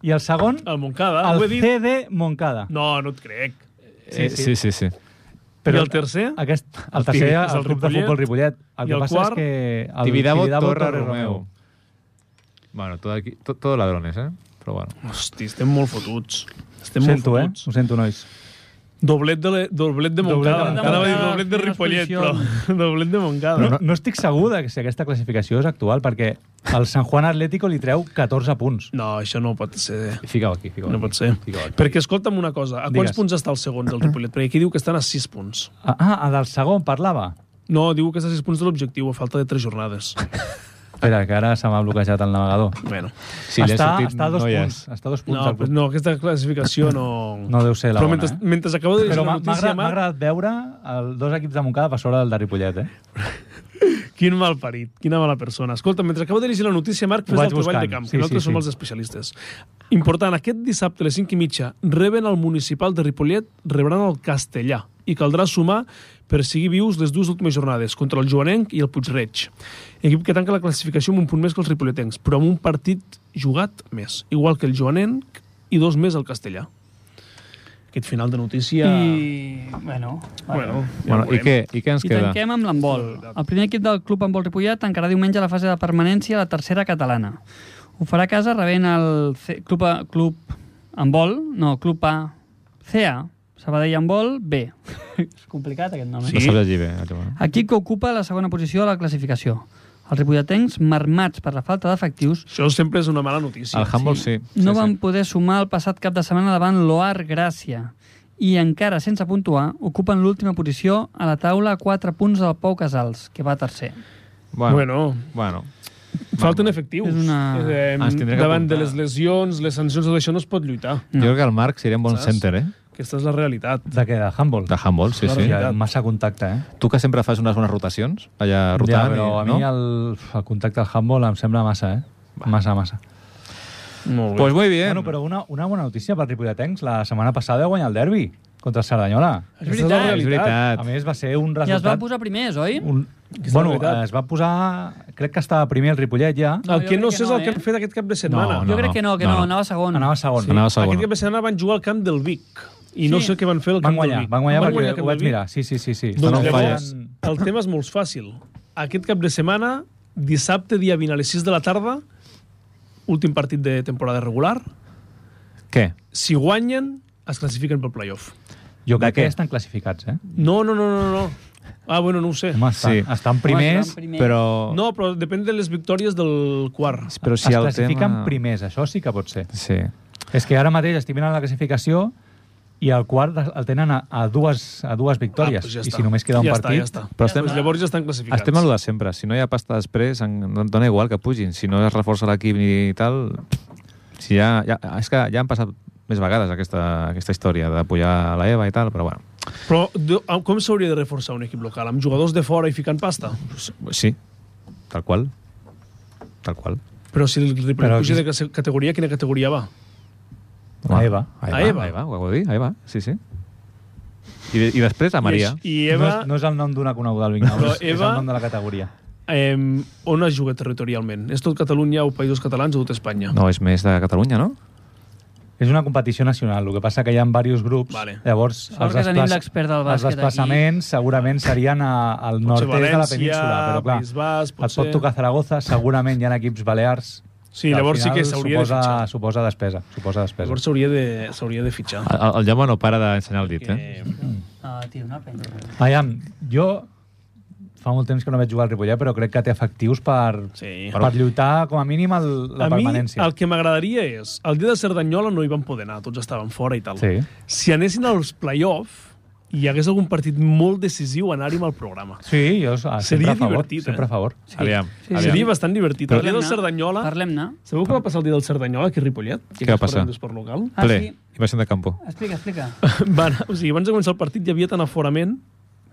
S1: i el segon
S3: El Moncada,
S1: el
S3: ho he dit...
S1: CD Moncada.
S3: No, no et crec.
S2: Sí, Eh, sí, sí. sí, sí.
S3: I el tercer?
S1: Aquest, el
S3: El
S1: tercer
S3: Tigre,
S1: el,
S3: és
S1: el
S3: el
S1: club de
S3: Ripollet.
S1: futbol Ripollet. El
S3: I
S1: que
S3: el
S1: passa és
S3: quart?
S1: que... El
S2: Tibidabo, Torre,
S1: Torre
S2: Romeu. Bueno, todo, aquí, to- todo ladrones, ¿eh? Pero bueno.
S3: Hosti, estem molt fotuts.
S1: Ho
S3: Estem
S1: sento, eh?
S3: molt fotuts.
S1: Ho sento, nois.
S3: Doblet de, le- doblet
S1: Doblet
S3: de
S1: de
S3: Montcada.
S1: Montcada.
S3: Anava a dir doblet de
S4: Quines
S3: Ripollet,
S4: posicions.
S3: però doblet de Montcada.
S1: No, no estic segur de si aquesta classificació és actual, perquè el San Juan Atlético li treu 14 punts.
S3: no, això no pot ser.
S2: Ficao aquí, ficao
S3: No
S2: aquí.
S3: pot ser.
S2: Ficao aquí.
S3: Perquè escolta'm una cosa, a quants
S1: Digues.
S3: punts està el segon del Ripollet? Perquè aquí diu que estan a 6 punts.
S1: Ah, ah, del segon parlava.
S3: No, diu que està a 6 punts de l'objectiu, a falta de 3 jornades.
S1: Espera, que ara se m'ha bloquejat el navegador.
S3: Bueno.
S2: Si li ha
S1: està,
S2: sortit,
S1: està a dos
S2: no hi és.
S1: punts. Està a dos punts.
S3: No,
S1: el
S3: pues
S1: punt.
S3: no, aquesta classificació no...
S1: No deu ser la
S3: Però
S1: bona,
S3: mentre,
S1: eh?
S3: mentre acabo de dir
S1: Però
S3: una
S1: m'ha m'ha
S3: notícia,
S1: agradat, m'ha
S3: Marc,
S1: agradat veure el, dos equips de Moncada per sobre del de Ripollet, eh?
S3: quin mal parit, quina mala persona. Escolta, mentre acabo de llegir la notícia, Marc,
S1: Ho
S3: fes el
S1: vaig
S3: treball
S1: buscant.
S3: de camp,
S1: Sí,
S3: que nosaltres
S1: sí,
S3: som
S1: sí.
S3: els especialistes. Important, aquest dissabte a les 5 i mitja reben el municipal de Ripollet, rebran el castellà i caldrà sumar per seguir vius les dues últimes jornades, contra el Joanenc i el Puigreig. Equip que tanca la classificació amb un punt més que els ripolletens, però amb un partit jugat més, igual que el Joanenc i dos més el castellà. Aquest final de notícia...
S4: I, bueno,
S3: Bueno, ja
S2: Bueno,
S3: ho
S2: i
S3: veurem.
S2: què, I què ens
S4: I
S2: queda?
S4: tanquem amb l'handbol. El primer equip del Club Handbol Ripollet tancarà diumenge la fase de permanència a la tercera catalana. Ho farà a casa rebent el C Club, a, Club Handbol, no, Club A, CA, Sabadell Handbol B. És complicat aquest nom, eh?
S2: No sap llegir bé. allò, eh?
S4: Equip que ocupa la segona posició a la classificació. Els ripolletens, marmats per la falta d'efectius,
S3: Això sempre és una mala notícia.
S2: El handball sí.
S4: no
S2: sí,
S4: van poder sumar el passat cap de setmana davant l'OAR Gràcia i encara sense puntuar ocupen l'última posició a la taula a 4 punts del Pau Casals, que va tercer.
S2: sí.
S3: Bueno,
S2: Bueno, bueno.
S3: bueno
S2: bueno.
S3: falten efectius.
S4: És una-
S3: Eh,
S2: Ens tindrà que
S3: davant de
S2: apuntar.
S3: les lesions, les sancions, tot això no es pot lluitar.
S2: Jo crec que el Marc seria un bon
S3: Saps?
S2: center, eh?
S3: Aquesta és la realitat.
S1: De què? De handball?
S2: De handball, sí, sí.
S1: Hi ha massa contacte, eh?
S2: Tu que sempre fas unes bones rotacions, allà rotant,
S1: ja, però
S2: i,
S1: a mi
S2: no?
S1: el, el contacte al handball em sembla massa, eh? Massa, massa.
S3: Molt
S2: Pues muy bien.
S1: Bueno, però una, una bona notícia per Ripolletens. La setmana passada va guanyar el derbi contra el Cerdanyola.
S3: és veritat. És
S2: és
S3: veritat.
S1: A
S2: veritat.
S1: més, va ser un
S4: I es van
S1: resultat...
S4: posar primers, oi?
S1: un...
S3: és la
S1: Bueno,
S3: veritat.
S1: es va posar... Crec que estava primer el Ripollet ja.
S4: No,
S3: El
S4: jo
S3: que no sé
S4: crec que
S3: és
S4: no,
S3: el que
S4: eh?
S3: han fet aquest cap de setmana.
S2: No,
S4: jo crec que no, que
S2: no,
S4: no,
S2: no.
S4: anava segon.
S1: Anava segon.
S2: Anava segon.
S3: Aquest cap de setmana van jugar al camp del Vic i no
S4: Sí.
S3: sé què van fer al
S1: Van
S3: camp
S1: guanyar,
S3: del Vic.
S1: van guanyar perquè
S3: al camp
S1: ho
S3: del
S1: vaig
S3: Vic.
S1: mirar. Sí, sí, sí. sí.
S3: Doncs
S2: no falles.
S3: llavors, el tema és molt fàcil. Aquest cap de setmana, dissabte, dia 20 a les 6 de la tarda, últim partit de temporada regular,
S2: Què?
S3: si guanyen, es classifiquen pel playoff.
S1: Jo
S2: De
S1: crec que
S2: què?
S1: estan classificats, eh?
S3: No, no, no, no, no. Ah, bueno, no ho sé.
S1: Home, estan,
S2: Sí.
S1: estan primers,
S4: estan primers.
S2: Però...
S3: No, però depèn de les victòries del quart.
S2: però si
S1: es
S2: el
S1: classifiquen
S2: tema...
S1: primers, això sí que pot ser.
S2: Sí.
S1: És que ara mateix estic mirant la classificació i el quart el tenen a, a, dues, a dues victòries.
S3: Ah, doncs ja
S1: I
S3: està.
S1: si només queda un
S3: ja
S1: partit...
S3: Està, ja està.
S2: però estem-
S3: Doncs llavors ja estan classificats.
S2: Estem a lo de sempre. Si no hi ha pasta després, en- no- dona igual que pugin. Si no es reforça l'equip ni tal... Si ja, ja, és que ja han passat més vegades aquesta, aquesta història de pujar a la EVA i tal, però bueno.
S3: Però de- ah, com s'hauria de reforçar un equip local? Amb jugadors de fora i ficant pasta?
S2: Sí, tal qual. Tal qual.
S3: Però si el Ripollet
S1: Però
S3: puja
S1: aquí-
S3: de cate- categoria, quina categoria va?
S1: A EVA.
S2: A
S3: A
S2: Eva,
S3: EVA.
S2: a Eva, ho acabo de dir, a Eva, sí, sí. I, de- i després a
S1: Ah,
S2: Maria.
S3: I, i Eva,
S1: No, és, no és el nom d'una coneguda al Vignau,
S3: Però
S1: és, és el
S3: Eva-
S1: nom de la categoria.
S3: eh, on es juga territorialment? És tot Catalunya o Països Catalans o tot Espanya?
S2: No, és més de Catalunya, no?
S1: És una competició nacional, el que passa que hi ha diversos grups,
S3: Vale.
S1: llavors
S4: Sort que tenim l'expert del
S1: els
S4: bàsquet aquí.
S1: desplaçaments segurament serien a, al
S3: Potser
S1: nord de la
S3: València,
S1: península, però clar,
S3: País Basc,
S1: et pot tocar Zaragoza, segurament hi ha equips balears,
S3: Sí, llavors sí que s'hauria de
S1: suposa,
S3: fitxar.
S1: Suposa despesa, suposa despesa.
S3: Llavors s'hauria de, s'hauria de fitxar.
S1: Ah,
S2: El, el Jaume no para d'ensenyar el dit, eh?
S3: Eh,
S4: Ah, tio, no penya.
S1: Aviam, jo fa molt temps que no vaig jugar al Ripollet, però crec que té efectius per,
S3: Sí.
S1: per lluitar com a mínim el, la
S3: a mi
S1: permanència.
S3: el que m'agradaria és... El dia de Cerdanyola no hi van poder anar, tots estaven fora i tal.
S1: Sí.
S3: Si anessin als play-off, hi hagués algun partit molt decisiu anar-hi amb el programa.
S1: Sí, jo ah, sempre
S3: Seria
S1: a favor.
S3: divertit, eh?
S1: Sempre a favor.
S4: Sí.
S2: Aviam,
S4: Sí,
S2: aviam.
S3: Seria bastant divertit. El dia del
S4: Parlem-ne.
S3: Cerdanyola...
S4: Parlem-ne.
S3: Sabeu què va passar el dia del Cerdanyola aquí a Ripollet?
S2: Què va passar?
S3: Per local?
S4: Ah,
S2: Ple,
S4: sí.
S2: i baixant de campo.
S4: Explica, explica.
S3: Va anar, o sigui, abans de començar el partit hi havia tant aforament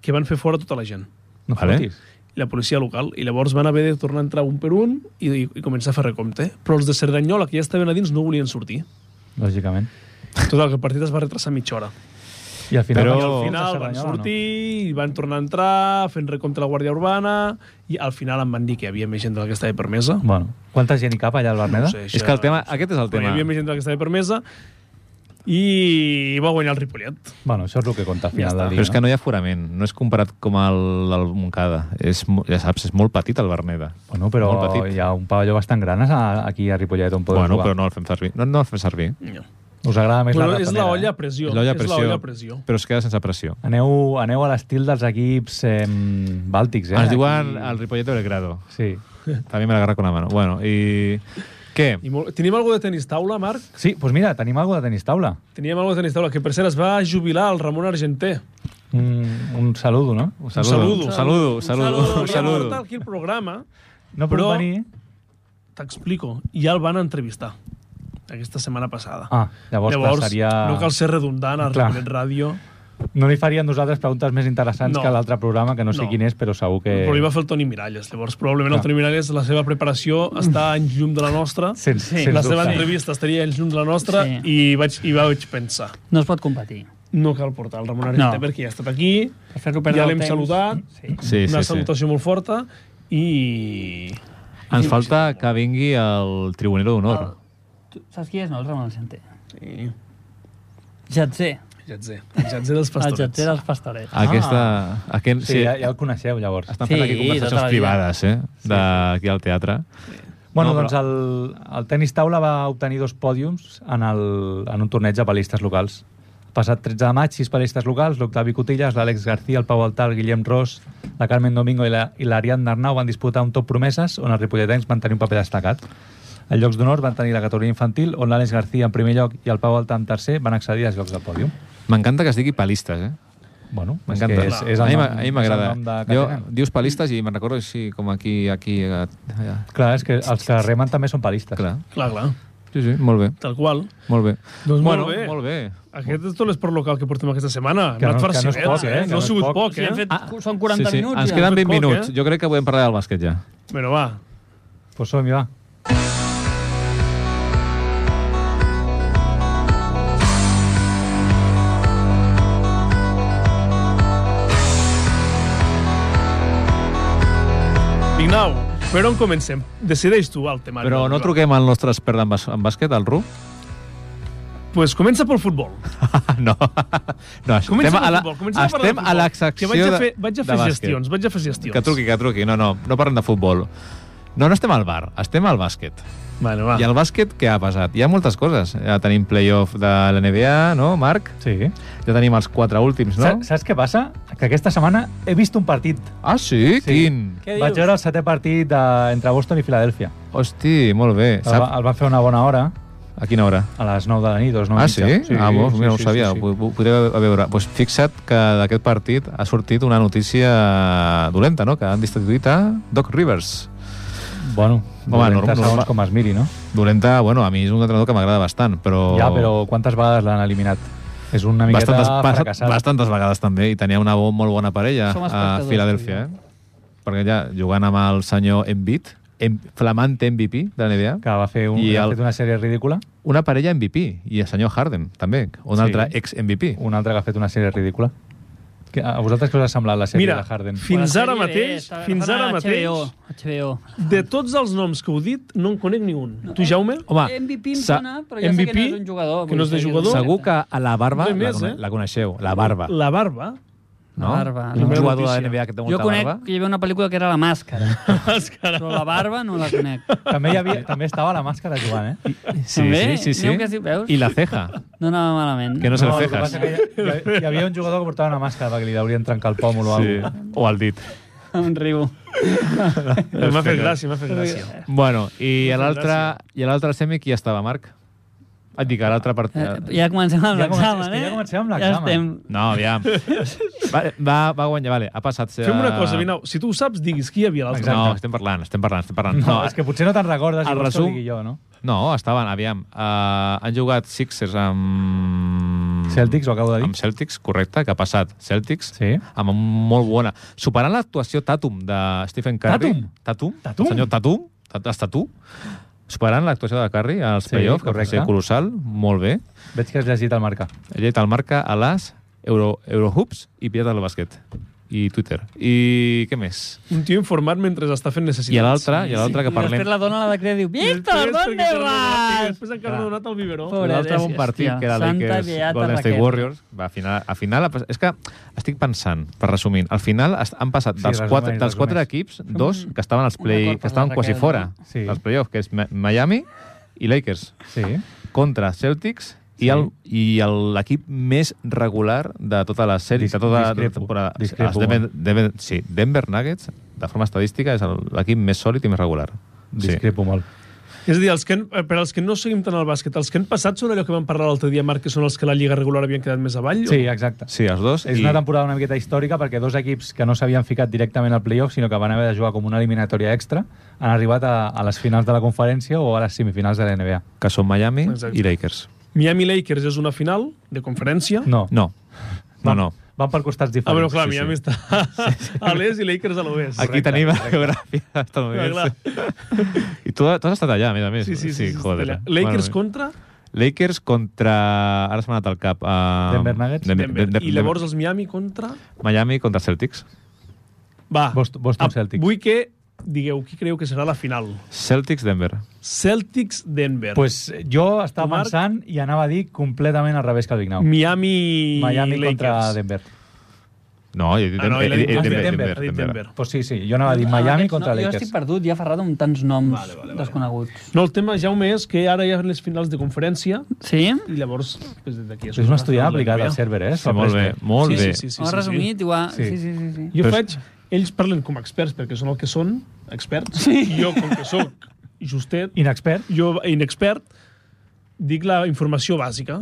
S3: que van fer fora tota la gent.
S1: No
S2: Vale.
S1: fotis.
S3: I la policia local. I llavors van haver de tornar a entrar un per un i, i, i començar a fer recompte. Però els de Cerdanyola, que ja estaven a dins, no volien sortir.
S1: Lògicament.
S3: Total, que el partit es va retrasar mitja hora.
S1: I al final...
S2: Però-
S1: vaig al fons de
S3: I al final van
S1: Cerdanyola,
S3: sortir, i van tornar a entrar, fent recompte a la Guàrdia Urbana, i al final em van dir que hi havia més gent de la que estava permesa.
S1: No? Bueno, quanta gent hi cap allà al Berneda?
S3: No sé,
S2: És que el tema... Aquest és el
S3: Però hi
S2: tema.
S3: havia més gent de la que estava permesa i va guanyar el Ripollet.
S1: Bueno, això és el que compta al final
S3: Ja
S1: ja
S3: està.
S1: del dia.
S2: Però és que no hi ha forament, no és comparat com el, el Montcada. És, mo- ja saps, és molt petit el Berneda.
S1: Bueno, però
S2: Molt
S1: hi
S2: petit.
S1: ha un pavelló bastant gran a- aquí a Ripollet on podem
S2: bueno,
S1: jugar.
S2: però no el fem servir. No, no el fem servir.
S3: No.
S1: Us agrada més
S3: Bueno,
S1: la
S3: és
S1: ratonera,
S3: la olla a
S1: Eh?
S3: pressió.
S2: És l'olla a
S3: És la
S2: pressió,
S3: olla a pressió.
S2: Però es queda sense pressió.
S1: Aneu, aneu a l'estil dels equips eh, bàltics, eh?
S2: Ens diuen el Ripollet de Belgrado.
S1: Sí.
S2: També me l'agarra con la mano. Bueno, i... Què?
S3: I molt... Tenim algú de tenis taula, Marc?
S1: Sí, doncs mira, tenim alguna de tenis taula.
S3: Teníem algú de tenis taula, que per cert es va jubilar el Ramon Argenté.
S1: Un, un saludo, no?
S2: Un
S3: saludo.
S2: Un saludo, un saludo. Un saludo.
S3: Aquí el programa
S1: No puc
S3: Però-
S1: venir...
S3: T'explico. Ja el van entrevistar aquesta setmana passada.
S1: Ah, llavors, clar, seria...
S3: no cal ser redundant a
S1: Clar.
S3: Ripollet Ràdio.
S1: no li faríem nosaltres preguntes més interessants
S3: No.
S1: que l'altre programa, que no sé
S3: No.
S1: quin és, però segur que...
S3: Eh... Però li va fer el Toni Miralles. Llavors, probablement
S1: Clar.
S3: el Toni Miralles, la seva preparació està en llum de la nostra.
S1: Sens,
S4: Sí.
S1: sens
S3: la seva
S1: dubte.
S3: entrevista estaria en llum de la nostra
S4: Sí.
S3: i, vaig, i vaig pensar
S4: No es pot competir.
S3: no cal portar el Ramon Argenter
S4: No.
S3: no. perquè ja ha estat aquí,
S4: Per fer-lo
S3: ja
S4: perdre el
S3: l'hem
S4: temps.
S3: saludat,
S4: Sí.
S2: Sí, sí, sí.
S3: una salutació molt forta i...
S2: Ens falta que vingui el tribunero d'honor.
S4: Tu saps qui és, no, el Ramon Argenter?
S3: Sí,
S4: Jatzer.
S3: Jatzer. El Jatzer dels
S4: El
S3: Pastorets.
S4: Jatzer dels
S2: Ah.
S4: Pastorets.
S2: Aquesta... Aquest,
S1: Sí, ja, ja el coneixeu, llavors.
S2: Estan fent
S4: Sí,
S2: aquí conversacions
S4: tota la vida.
S2: privades, eh? D'aquí al teatre.
S1: Bueno,
S2: No, però-
S1: doncs el, el tenis taula va obtenir dos pòdiums en, el, en un torneig de palistes locals. Passat 13 de maig, sis palistes locals, l'Octavi Cotillas, l'Àlex García, el Pau Altar, el Guillem Ros, la Carmen Domingo i la- i l'Ariadna Arnau van disputar un top promeses on els ripolletens van tenir un paper destacat. En llocs d'honor van tenir la categoria infantil, on l'Àlex García en primer lloc i el Pau Altar en tercer van accedir als llocs del pòdium.
S2: M'encanta que es digui palistes, eh?
S1: Bueno, és
S2: M'encanta.
S1: que És, és
S2: a
S1: el
S2: mi
S1: nom-
S2: m'a- a mi
S1: és el
S2: m'agrada.
S1: nom de- que
S2: Jo,
S1: tenen.
S2: dius palistes i me'n recordo així, com aquí, aquí, allà. allà.
S1: Clar, és que els que remen també són palistes.
S2: Clar.
S3: Clar, clar,
S2: Sí, sí, molt bé,
S3: tal qual.
S2: molt bé.
S3: Doncs
S2: bueno,
S3: molt bé.
S2: molt bé.
S3: Aquest és tot l'esport local que portem aquesta setmana.
S1: Que
S3: Hem anat
S1: no- que no és
S3: farcimets,
S1: poc, eh? Que
S3: No
S1: no
S3: ha
S1: és
S3: sigut
S1: poc.
S3: poc,
S4: Sí,
S3: eh?
S4: hem fet, són 40
S2: Ah. sí, sí.
S4: minuts
S2: Ens
S4: ja.
S2: queden 20
S3: Poc, eh?
S2: minuts. Jo crec que podem parlar del bàsquet ja.
S3: Bueno, va.
S1: Pues som-hi, va.
S3: Vignau, per on comencem? Decideix tu el tema.
S2: Però no truquem al nostre expert en, bas en bàsquet, al Ru?
S3: pues comença pel futbol.
S2: no. no això-
S3: Comença
S2: estem a
S3: pel
S2: la,
S3: futbol. Comença parlar
S2: estem
S3: del
S2: a
S3: futbol,
S2: la
S3: que
S2: secció
S3: vaig a
S2: de-
S3: fer, vaig a
S2: de
S3: fer
S2: bàsquet.
S3: gestions, vaig a fer gestions.
S2: Que truqui, que truqui. No, no, no parlem de futbol. No, no estem al bar, estem al bàsquet.
S3: Bueno, va.
S2: I al bàsquet què ha passat? Hi ha moltes coses. Ja tenim playoff de la NBA, no, Marc?
S1: Sí.
S2: Ja tenim els quatre últims, no?
S1: Saps, saps què passa? Que aquesta setmana he vist un partit.
S2: Ah, sí? sí? Quin?
S4: Què
S1: Vaig veure el setè partit de, entre Boston i Filadèlfia.
S2: Hosti, molt bé.
S1: El, va-
S2: Sap,
S1: el van fer una bona hora,
S2: a quina hora?
S1: a les 9 de la nit, o les 9
S2: Ah,
S1: i
S2: sí?
S1: mitja.
S2: ah, bo, mira, no ho sabia. Sí, sí. Podré veure. Pues fixa't que d'aquest partit ha sortit una notícia dolenta, no? Que han destituït a Doc Rivers.
S1: Bueno, Home,
S2: Home, normal,
S1: normal, segons
S2: normal.
S1: com es miri, no?
S2: Dolenta, bueno, a mi és un entrenador que m'agrada bastant, però...
S1: Ja, però quantes vegades l'han eliminat? És una miqueta
S2: bastantes, bast-
S1: fracassat.
S2: bastantes vegades també, i tenia una bo, molt bona parella
S4: Som
S2: a
S4: espectadors,
S2: Filadèlfia, eh? Perquè ja, jugant amb el senyor Embiid, em, flamant MVP de la NBA,
S1: Que va fer un,
S2: I
S1: ha
S2: el-
S1: fet una sèrie ridícula,
S2: una parella MVP, i el senyor Harden, també, un
S1: Sí.
S2: altre ex-MVP.
S1: un altre que ha fet una sèrie ridícula. Que, a vosaltres què us ha semblat la sèrie
S3: Mira,
S1: de Harden?
S3: fi- Fins ara mateix, fins ara mateix.
S4: HBO.
S3: De tots els noms que heu dit, no en conec ni un. Tu, Jaume?
S2: Home,
S4: MVP em
S2: sa-
S4: sona, però ja MVP, sé que no és un jugador.
S3: que no és de
S4: vull dir,
S3: jugador.
S2: segur que a la barba
S3: No
S2: la,
S3: hi més,
S2: cone-
S3: eh?
S2: la coneixeu, la barba.
S3: La barba?
S2: No?
S4: La barba, la
S2: Un
S3: meva
S2: jugador de
S3: notícia.
S2: NBA que té
S4: Jo
S2: molta
S4: conec
S2: barba.
S4: que hi havia una pel·lícula que era La Màscara,
S3: Màscara.
S4: però la barba no la conec.
S1: També, hi havia, també estava la màscara jugant, eh?
S2: Sí,
S4: També?
S2: sí, sí.
S4: Aneu que sí, veus?
S2: I la ceja,
S4: No anava malament.
S2: que no se
S1: No,
S2: no,
S1: el que
S2: cejas.
S1: passa que hi, hi, hi havia un jugador que portava una màscara perquè li haurien trencar el pòmul o
S2: Sí,
S1: alguna cosa.
S2: o el dit.
S4: Em riu.
S3: M'ha fet gràcia, m'ha fet gràcia.
S2: Bueno, i a l'altre i a l'altre semi qui estava, Marc? Et dic, a l'altre
S4: Eh,
S2: partit...
S4: Ja comencem amb
S1: Ja comencem-
S4: l'examen,
S1: és que
S4: eh?
S1: ja comencem amb l'examen.
S4: Ja estem...
S2: No, aviam. Va, va, va guanyar, vale, ha passat...
S3: Fem una cosa, Vinau. Si tu ho saps, diguis qui hi havia a l'altre.
S1: Exacte.
S2: No, estem parlant, estem parlant, estem parlant.
S1: No, és que potser no te'n recordes,
S2: El
S1: i vols que ho
S2: resum-
S1: digui jo, no?
S2: no estaven, aviam. Uh, han jugat Sixers amb...
S1: Celtics, ho acabo de dir.
S2: Amb Celtics, correcte, que ha passat. Celtics,
S1: Sí.
S2: amb un molt bona... Superant l'actuació Tatum de Stephen Curry.
S1: Tatum?
S2: Tatum?
S1: Tatum?
S2: El senyor Tatum? Tat- Has Tatum? Superant l'actuació de Curry als
S1: Sí,
S2: playoffs, que va
S1: correcte.
S2: ser colossal, molt bé.
S1: Veig que has llegit el marca.
S2: Ell el marca a les Euro, Eurohoops i Pillat al bàsquet. I Twitter. I què més?
S3: Un tio informat mentre està fent necessitats.
S2: I a l'altre, Ah, i a l'altre que
S4: I
S2: parlem...
S4: després la dona la decreta diu Víctor,
S3: Després,
S4: d'on
S3: perquè torna a-
S4: vas?
S3: Després
S2: Ah.
S3: encara no ha donat el biberó.
S4: Pobre,
S2: L'altre bon
S4: gràcies,
S2: partit,
S4: tia.
S2: que era
S4: Santa
S2: Lakers,
S4: Beata
S2: Golden State
S4: Raquel.
S2: Warriors, va, a final, a final, ha pas- és que estic pensant, per resumir, al final es- han passat
S1: Sí,
S2: dels,
S1: resumeix,
S2: quatre, dels
S1: resumeix.
S2: quatre equips, dos que estaven als play,
S4: acord per
S2: que estaven
S4: la
S2: quasi
S4: Raquel,
S2: fora,
S1: no? Sí.
S2: dels playoffs, que és Mi- Miami i Lakers,
S1: Sí.
S2: contra Celtics i el- i el- l'equip més regular de tota la sèrie,
S1: Dis-
S2: de tota la
S1: discrepo,
S2: temporada.
S1: discrepo,
S2: Els Denver, Denver, sí, Denver Nuggets, de forma estadística, és el- l'equip més sòlid i més regular. Sí.
S1: Discrepo molt.
S3: És a dir, els que han, per als que no seguim tant el bàsquet, els que han passat són allò que vam parlar l'altre dia, Marc, que són els que la Lliga regular havien quedat més avall?
S1: Sí, exacte.
S2: Sí, els dos.
S1: És una temporada una miqueta històrica perquè dos equips que no s'havien ficat directament al playoff, sinó que van haver de jugar com una eliminatòria extra, han arribat a, a les finals de la conferència o a les semifinals de la NBA.
S2: que són Miami
S3: Exacte.
S2: i Lakers.
S3: Miami Lakers és una final de conferència?
S1: No,
S2: No, no, no.
S1: van per costats
S3: Ah,
S1: diferents.
S3: però clar,
S2: Sí,
S3: sí,
S2: sí.
S3: Miami sí. està a l'est i Lakers a l'oest.
S2: Aquí tenim la geografia
S3: Clar, clar.
S2: estadounidense. I tu, tu has estat allà, a més a més.
S3: Sí, sí, sí. sí, sí
S2: joder.
S3: allà. Lakers
S2: Bueno,
S3: contra
S2: Lakers contra... Ara se m'ha anat al cap. Uh,
S1: Denver Nuggets?
S3: Denver. I llavors els Miami contra...
S2: Miami contra Celtics.
S3: Va.
S1: Boston- Boston
S3: Ah,
S1: Celtics.
S3: Vull que digueu qui creieu que serà la final.
S2: Celtics-Denver.
S3: Celtics-Denver.
S1: Pues jo estava
S3: Marc?
S1: pensant i anava a dir completament al revés que el Big Now.
S3: Miami...
S1: Miami
S3: Lakers.
S1: contra Denver.
S2: No, he dit
S3: Ah, no,
S2: Denver.
S3: ell ha dit
S2: he dit
S1: Denver,
S3: ha dit Denver.
S1: Pues sí, sí, jo anava a dir
S3: Ah,
S1: Miami contra
S4: no, Jo
S1: Lakers.
S4: estic perdut, ja Ferrado, amb tants noms vale, vale, vale. desconeguts.
S3: No, el tema, Jaume, és que ara hi ha les finals de conferència
S4: Sí?
S3: i llavors... Pues, des d'aquí
S1: És un estudiant aplicat al
S3: servei.
S1: server, eh?
S2: Sí, molt bé, molt
S3: Sí, sí,
S2: bé.
S3: sí, sí,
S4: Ho has resumit? Sí. Igual...
S1: Sí.
S4: Sí. sí, sí, sí.
S3: Jo
S2: Però-
S3: faig... Ells parlen com a experts, perquè són el que són, experts. Sí. I jo, com que sóc justet,
S1: Inexpert.
S3: jo inexpert, dic la informació bàsica.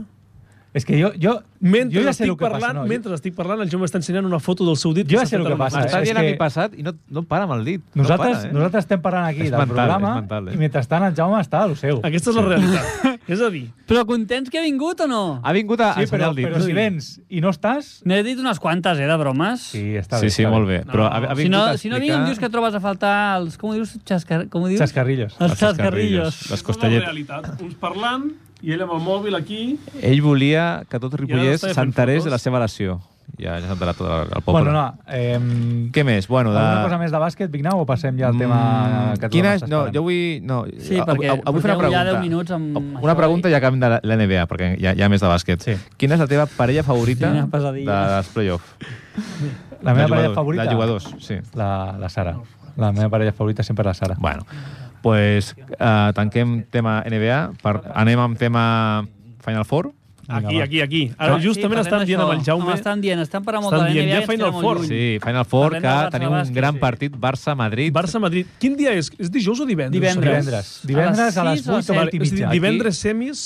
S1: És que jo... jo
S3: Mentre
S1: jo ja sé
S3: estic
S1: el que passa,
S3: parlant,
S1: no, jo-
S3: mentre estic parlant, el Jaume està ensenyant una foto del seu dit.
S1: Jo ja
S3: s'ha
S1: sé el
S3: fet
S1: que
S3: a la
S1: passa, M'està
S3: universitat.
S1: eh? dient a mi
S2: passat i no, no para amb el dit.
S1: Nosaltres, no para, eh? nosaltres estem parlant aquí
S2: És
S1: del
S2: mental,
S1: programa
S2: és mental, eh?
S1: i mentrestant el Jaume està a lo seu.
S3: Aquesta és la realitat. és a dir,
S4: Però contents que he vingut o no?
S2: Ha vingut a
S1: Sí, però,
S2: ensenyar el dit.
S1: però si vens i no estàs...
S4: N'he dit unes quantes, eh, de bromes.
S1: Sí, està
S2: Sí,
S1: bé.
S2: sí,
S1: està
S2: molt bé. Però ha, ha
S4: Si
S2: vingut
S4: no,
S2: a
S4: si no
S2: explicar
S4: vinc, em dius que trobes a faltar els... Com ho dius? Xascar... Com ho dius?
S1: Xascarrillos.
S4: Els
S2: les xascarrillos, Les
S4: xascarrillos.
S3: aquesta és la
S2: costelletes.
S3: realitat. Uns parlant i ell amb el mòbil aquí...
S2: Ell volia que tot Ripollès
S3: està fent
S2: s'enterés
S3: fotos.
S2: de la seva lesió. Ja, ja s'ha enterat tot el, el poble.
S1: Bueno, no, eh,
S2: Què més? Bueno, de...
S1: alguna cosa més de bàsquet, Vignau, o passem ja al tema que tothom
S2: Mm, Quina
S1: està
S2: és? No,
S1: esperant?
S2: jo vull... No,
S4: Sí,
S2: av-
S4: perquè
S2: av- avui fer una
S4: porteu ja
S2: pregunta.
S4: 10 minuts amb
S2: Una
S4: Mm, això eh?
S2: pregunta
S4: i-
S2: i acabem de la- la NBA, perquè hi ha, hi ha més de bàsquet.
S1: Sí.
S2: Quina és la teva parella favorita
S4: Sí, una
S2: de,
S4: pesadilla.
S2: dels play-off?
S1: La meva parella
S2: De jugadors-
S1: favorita...
S2: De jugadors, sí.
S1: La, la Sara. La meva parella favorita sempre és la Sara.
S2: Bueno, pues, eh, tanquem tema NBA, per, anem amb tema Final Four.
S3: Aquí,
S1: va. Ah.
S3: aquí, aquí. Ara
S4: Sí,
S3: justament
S4: parlem
S3: estan dient
S4: d'això.
S3: amb el Jaume...
S4: Home, estan dient, estan parlant molt
S3: Estan
S4: de la
S3: dient,
S4: NBA.
S3: ja
S4: i ens
S3: Final
S4: queda
S3: Four.
S4: molt lluny.
S2: Sí, Final Four,
S4: Parlem
S2: que
S4: del Barça,
S2: teniu un
S4: bàsquet,
S2: gran
S4: sí.
S2: partit, Barça-Madrid.
S3: Barça-Madrid. Quin dia és? És dijous o divendres? eh?
S4: Divendres.
S1: Divendres. Divendres a les
S4: sis o a
S1: 8 o
S4: set.
S1: a 8 i
S3: És a dir,
S1: mitja.
S3: divendres semis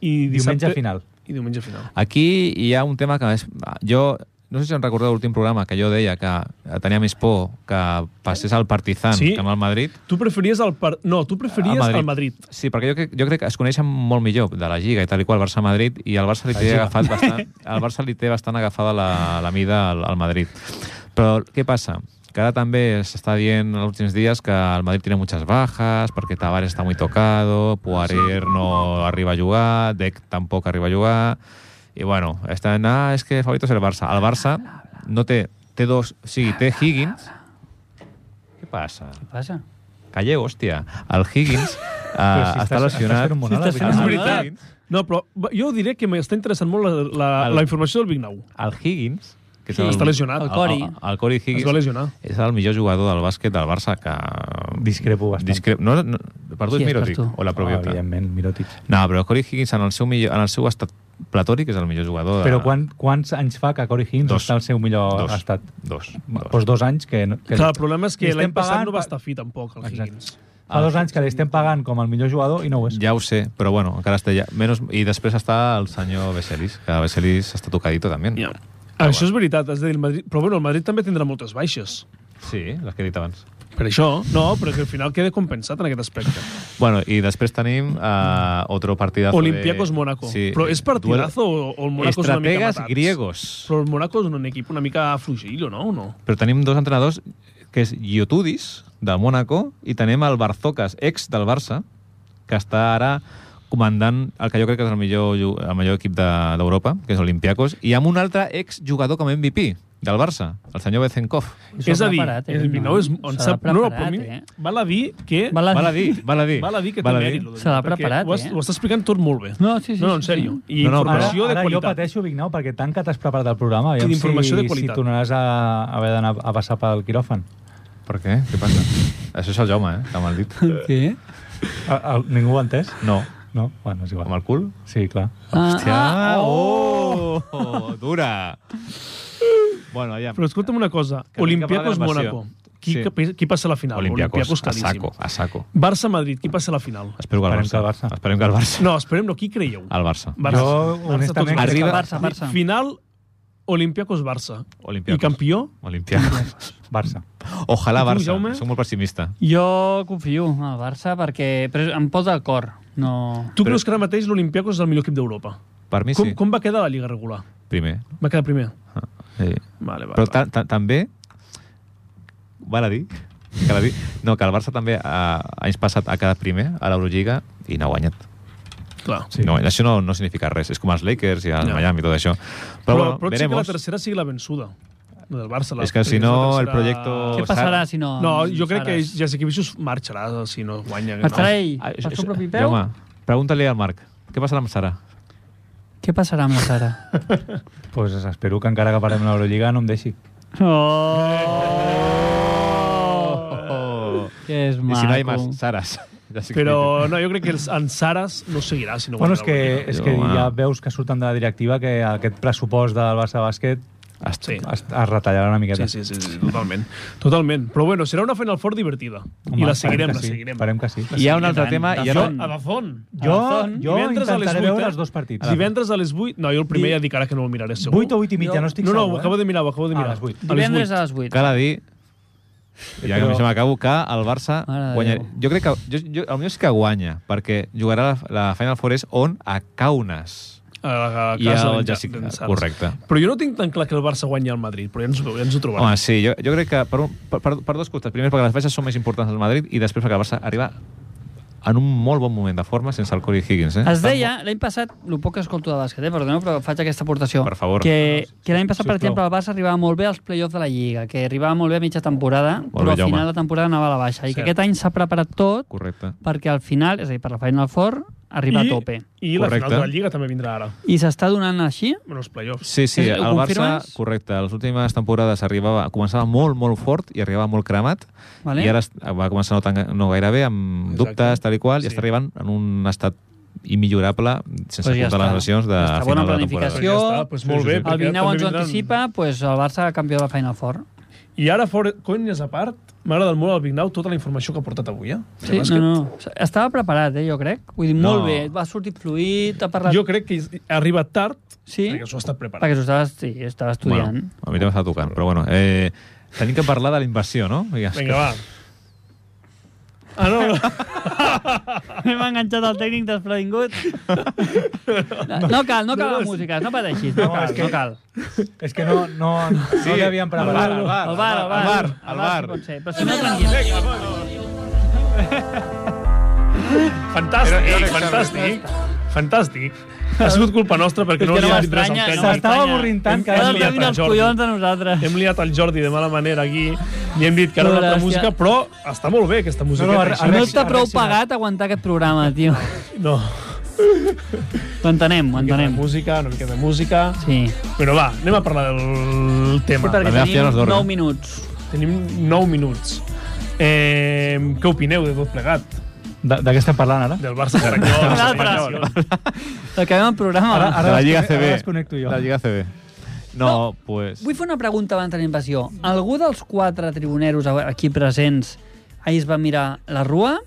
S3: i
S1: Aquí,
S3: dissabte...
S1: diumenge final.
S3: I diumenge final.
S2: Aquí hi ha un tema que és... Jo no sé si em recordeu l'últim programa que jo deia que tenia més por que passés al Partizan
S3: Sí.
S2: que amb el Madrid.
S3: Tu preferies el... Par... No, tu preferies
S2: Al Madrid.
S3: el Madrid.
S2: Sí, perquè jo, crec, jo crec que es coneixen molt millor de la Lliga i tal i qual, Barça-Madrid, i el Barça li té agafat bastant, el Barça li té bastant agafada la, la mida al, al Madrid. Però què passa? Que ara també s'està dient els últims dies que el Madrid tiene muchas bajas, perquè Tavares està muy tocado, Poirier no arriba a jugar, Dec tampoc arriba a jugar, i bueno, està en, ah, és que favorito és el Barça. El Barça no té, té dos, o sigui, té Higgins... Què passa?
S4: Què passa?
S2: Calleu, hòstia. El Higgins
S1: Però
S2: uh, si està
S1: estàs- estàs
S2: lesionat.
S1: fent un monòleg,
S4: Si estàs fent
S1: Vignau.
S4: un monòleg.
S3: veritat. No, però jo diré que m'està interessant molt la, la,
S2: El-
S3: la informació del Big Nou.
S2: El Higgins, que és
S4: Sí,
S2: el,
S3: està lesionat.
S2: El,
S4: El Cori.
S2: el, el Cori
S3: Es va
S2: Higgins
S3: lesionar.
S2: és el millor jugador del bàsquet del Barça que... um,
S1: Discrepo bastant.
S2: Discre... No, no, per tu
S4: Qui
S2: és
S4: és,
S2: Mirotic,
S4: per tu?
S2: o la
S1: Ah,
S2: Proviota.
S1: evidentment, Mirotic.
S2: no, però el Cori Higgins en el seu, millor, en el seu estat platòric és el millor jugador. De...
S1: Però quan, quants anys fa que Corey Higgins
S2: Ah. Dos.
S1: està al seu millor
S2: Dos.
S1: estat?
S2: Dos.
S1: Dos. Pues dos anys que... no- que
S3: Clar, el problema és
S1: Li
S3: que
S1: estem
S3: l'any passat
S1: pagant
S3: no va
S1: per-
S3: estar fi tampoc, el
S1: Exacte.
S3: Higgins.
S1: Fa dos anys que l'estem pagant com el millor jugador i no ho és.
S2: Ja ho sé, però bueno, encara està ja... Menys... I després està el senyor Veselis, que Veselis està tocadito també.
S3: Ja. Això és veritat, has de dir el Madrid... Però bueno, el Madrid també tindrà moltes baixes.
S2: Sí, les que he dit abans.
S3: Per això, no, però que al final queda compensat en aquest aspecte.
S2: Bueno, y después tenim uh, otro partidazo
S3: Olympiacos
S2: de...
S3: Mónaco.
S2: Sí.
S3: Però és partidazo o, o el Mónaco és una mica
S2: Estrategas
S3: matats?
S2: griegos.
S3: Però el Mónaco és un equip una mica fluixillo, no? O no?
S2: Però tenim dos entrenadors, que és Iotudis, del Mónaco, i tenim el Barzocas, ex del Barça, que està ara comandant el que jo crec que és el millor, ju- el millor equip de- d'Europa, de, que és Olympiacos, i amb un altre exjugador com a MVP del Barça, el senyor Bezenkov.
S4: S'ho
S3: és a dir,
S4: preparat, eh,
S3: el Vignau és...
S4: no?
S3: On
S4: S'ha
S3: sap, no, no, però
S4: preparat,
S3: a mi
S4: eh?
S3: val a dir que...
S4: Val a
S2: Val a dir, val a dir.
S3: Val a dir que té
S2: Val a dir.
S3: mèrit. lo de-
S4: Se l'ha
S3: perquè
S4: preparat,
S3: ho has,
S4: eh?
S3: Ho estàs explicant tot molt bé.
S4: No, sí, sí,
S3: No, no, en
S4: sí, sí.
S3: sèrio. I
S2: No, no, però-
S1: Ara,
S3: informació
S1: ara
S3: de
S1: jo
S3: qualitat.
S1: pateixo, Vignau, perquè tant que t'has preparat el programa, aviam
S3: Sí, d'informació
S1: si,
S3: de qualitat.
S1: si tornaràs a, a haver d'anar a passar pel quiròfan.
S2: Per què? Què passa? Això és el Jaume, eh? Que m'han dit.
S4: Què?
S1: A, a, Ah, ningú ho ha entès?
S2: No.
S1: No? Bueno, és
S2: Amb
S1: igual.
S2: el cul?
S1: Sí, clar.
S4: Ah,
S2: Hòstia! Oh! oh! Dura! Bueno, ja.
S3: Però escolta'm una cosa,
S2: Que vinga a parlar
S3: Olympiacos
S2: d'invasió.
S3: Mónaco. qui,
S2: Sí.
S3: sí. qui passa a la final?
S2: Olimpiakos, a
S3: claríssim.
S2: saco, a saco.
S3: Barça-Madrid, qui passa a la final?
S2: Espero que el
S1: Esperem que
S2: Barça.
S1: el Barça.
S2: Esperem que el Barça.
S3: No, esperem, no, qui creieu?
S2: El Barça.
S3: Barça.
S1: Jo,
S3: tots
S1: honestament,
S3: dos.
S1: crec
S2: Arriba-
S4: Barça, Barça.
S3: Final, Olimpiakos-Barça. I
S2: Olimpiakos.
S3: campió?
S2: Olimpiakos.
S1: Barça.
S2: Ojalà
S3: I tu,
S2: Barça.
S3: Jaume?
S2: Soc molt pessimista.
S4: Jo confio en el Barça perquè però em posa el cor. No...
S3: Tu creus que ara mateix l'Olimpiakos és el millor equip d'Europa?
S2: Per mi
S3: Com,
S2: sí.
S3: com va quedar la Lliga regular?
S2: Primer.
S3: Va quedar primer?
S2: Ah, sí.
S3: Vale, vale.
S2: Però
S3: vale.
S2: ta ta també val a dir cal a dir, no, que el Barça també eh, ha, anys passat ha quedat primer a l'Eurolliga i n'ha guanyat.
S3: Clar.
S2: Sí. No, això no, no significa res. És com els Lakers i el
S3: Ja.
S2: no. Miami i tot això.
S3: Però,
S2: Però, bueno,
S3: però potser que
S2: veremos.
S3: la tercera sigui la vençuda. La del Barça. La,
S2: És que si
S3: la
S2: no, el
S3: tercera-
S2: proyecto-
S4: Què
S2: Sar-
S4: passarà si no...
S3: No,
S1: Doncs
S3: jo crec que
S4: Saras?
S3: Jacek Ibisus marxarà si no guanya.
S4: Marxarà ell
S2: Ah, això-
S4: pel seu
S2: això-
S4: propi peu?
S2: Jaume, pregunta-li al Marc. Què passarà amb Sara?
S4: Què passarà amb la Sara?
S1: Pues espero que encara que parem l'Eurolliga no em deixi.
S3: Oh!
S4: Oh! Que és
S2: I
S4: maco.
S2: si no hi ha més Saras. Ja sí que
S3: Però no, jo crec que els, en Saras no seguirà si no
S1: Bueno,
S3: guanya.
S1: és que, és
S3: la Lliga.
S1: que
S2: Jo,
S1: ja
S2: bueno.
S1: veus que surten de la directiva que aquest pressupost del Barça Bàsquet
S2: has-
S3: Sí.
S1: es, es retallarà una miqueta.
S3: Sí, sí, sí, sí, totalment. totalment. Però bueno, serà una Final Four divertida.
S1: Home,
S3: I
S1: esperem
S3: la seguirem,
S1: que
S3: la
S1: sí,
S3: seguirem.
S1: Esperem que sí.
S2: Hi ha un altre
S4: tant,
S2: tema...
S4: de
S2: I ara,
S4: font.
S3: A la font.
S1: Jo,
S4: Amazon,
S1: jo intentaré veure
S3: eh?
S1: els dos partits.
S3: Divendres a les 8... No, jo el primer
S1: Di-
S3: ja dic ara que no el miraré segur.
S1: 8 o 8 i mitja, no estic
S3: No, no,
S1: segur.
S3: ho acabo de mirar, ho acabo de
S1: Ah,
S3: mirar.
S1: a les vuit.
S3: A les
S4: Divendres
S3: 8.
S4: a les 8.
S2: cal a dir... Ja que
S1: Però-
S2: Però... m'acabo, que el Barça
S4: Mare de
S2: guanyarà...
S4: Déu.
S2: Jo crec que... Jo, jo, el millor és que guanya, perquè jugarà la, la Final Four és on? A Kaunas.
S3: A, a
S2: I
S3: casa
S2: el
S3: d'en Ja-
S2: Jessica,
S3: d'en Sars.
S2: correcte.
S3: Però jo no tinc tan clar que el Barça guanyi al Madrid, però ja ens, ho- ja ens ho trobarem.
S2: Home, sí, jo, jo crec que per, un, per, per, per dos costats. Primer, perquè les baixes són més importants al Madrid i després perquè el Barça arriba en un molt bon moment de forma sense el Corey Higgins. Eh?
S4: Es deia, l'any passat, el poc que escolto de bàsquet, eh? perdoneu, però faig aquesta aportació.
S2: Per favor.
S4: Que, que l'any passat, per
S1: Sisplau.
S4: exemple, el Barça arribava molt bé als playoffs de la Lliga, que arribava molt bé a mitja temporada,
S2: Molt
S4: però
S2: bé,
S4: al final
S2: Jaume.
S4: de temporada anava a la baixa. I que aquest any s'ha preparat tot
S2: Correcte.
S4: perquè al final, és a dir, per la Final Four, arriba
S3: I,
S4: a tope.
S3: I la
S2: Correcte.
S3: final de la Lliga també vindrà ara.
S4: I s'està donant així?
S3: Bueno, els playoffs.
S2: Sí, sí,
S4: És- ho
S2: el Barça,
S4: confirmes?
S2: correcte, les últimes temporades arribava, començava molt, molt fort i arribava molt cremat
S4: Vale.
S2: i ara es- va començar no, tan, no gaire bé, amb
S3: Exacte.
S2: dubtes, tal i qual,
S3: Sí.
S2: i està arribant en un estat immillorable, sense
S4: Pues ja
S2: comptar les
S4: està.
S2: lesions de
S4: Ja està,
S2: final
S4: bona
S2: de la
S4: planificació.
S2: temporada.
S3: Doncs
S4: Jo-
S3: ja està, doncs
S2: Sí,
S3: molt
S2: sí,
S3: bé.
S2: sí.
S4: El
S3: perquè
S4: 29
S3: també
S4: ens ho
S3: vindran-
S4: anticipa, pues el Barça campió de la Final Four.
S3: I ara, fora, conyes a part, m'agrada el molt al Vignau tota la informació que ha portat avui, eh?
S4: Sí, no, no. Estava preparat, eh, jo crec. Vull dir, molt
S2: No.
S4: bé, va sortir fluid, ha parlat...
S3: Jo crec que ha arribat tard,
S4: Sí?
S3: perquè s'ho ha estat preparant.
S4: Perquè s'ho estava, sí, estava estudiant.
S2: Bueno, a mi també m'està tocant, però bueno, eh, tenim que parlar de la inversió, no? Ja, és
S3: Vinga, va. Ah, no, no.
S4: Hem enganxat el tècnic desprevingut. No, no cal, no cal la música, no pateixis, no cal, no cal.
S1: És que no, no, no sí, l'havíem preparat.
S2: al bar,
S4: El bar, el bar.
S2: al bar, al bar.
S4: sí pot ser, però si no, tranquil.
S3: Fantàstic, fantàstic. Fantàstic. Ha sigut culpa nostra perquè no
S4: És que
S3: li
S4: no
S3: ha dit res al
S4: m'estranya, no
S3: tècnic.
S1: S'estava
S4: m'estranya.
S1: avorrint tant que...
S3: Hem
S4: Ara
S1: hem
S4: ens
S1: liat.
S3: liat
S4: treguin
S3: el
S4: els
S3: Jordi.
S4: collons a nosaltres.
S3: Hem liat el Jordi de mala manera aquí i hem dit que era una altra
S4: Pobra,
S3: música,
S4: hòstia.
S3: però està molt bé aquesta música.
S1: No, no,
S3: així.
S1: arre-
S4: No està prou
S1: Arrexinat.
S4: pagat aguantar aquest programa, tio.
S3: no.
S4: Ho entenem, ho
S3: Una miqueta de
S4: entenem.
S3: música, una miqueta de música...
S4: Sí.
S3: Però va, anem a parlar del tema.
S4: Sí, perquè
S2: meva filla no es
S4: tenim
S2: dorm. eh?
S4: 9 minuts.
S3: Tenim 9 minuts. Eh, què opineu de tot plegat?
S1: De, de què estem parlant ara?
S3: Del Barça Caranyol?
S4: Un altre. Acabem el programa.
S1: Ara, ara
S2: de la Lliga
S1: descone-
S2: CB.
S1: Ara desconnecto jo.
S2: La Lliga CB. No, no. pues...
S4: Vull fer una pregunta abans de la invasió. Algú dels quatre tribuneros aquí presents ahir es va mirar la rua?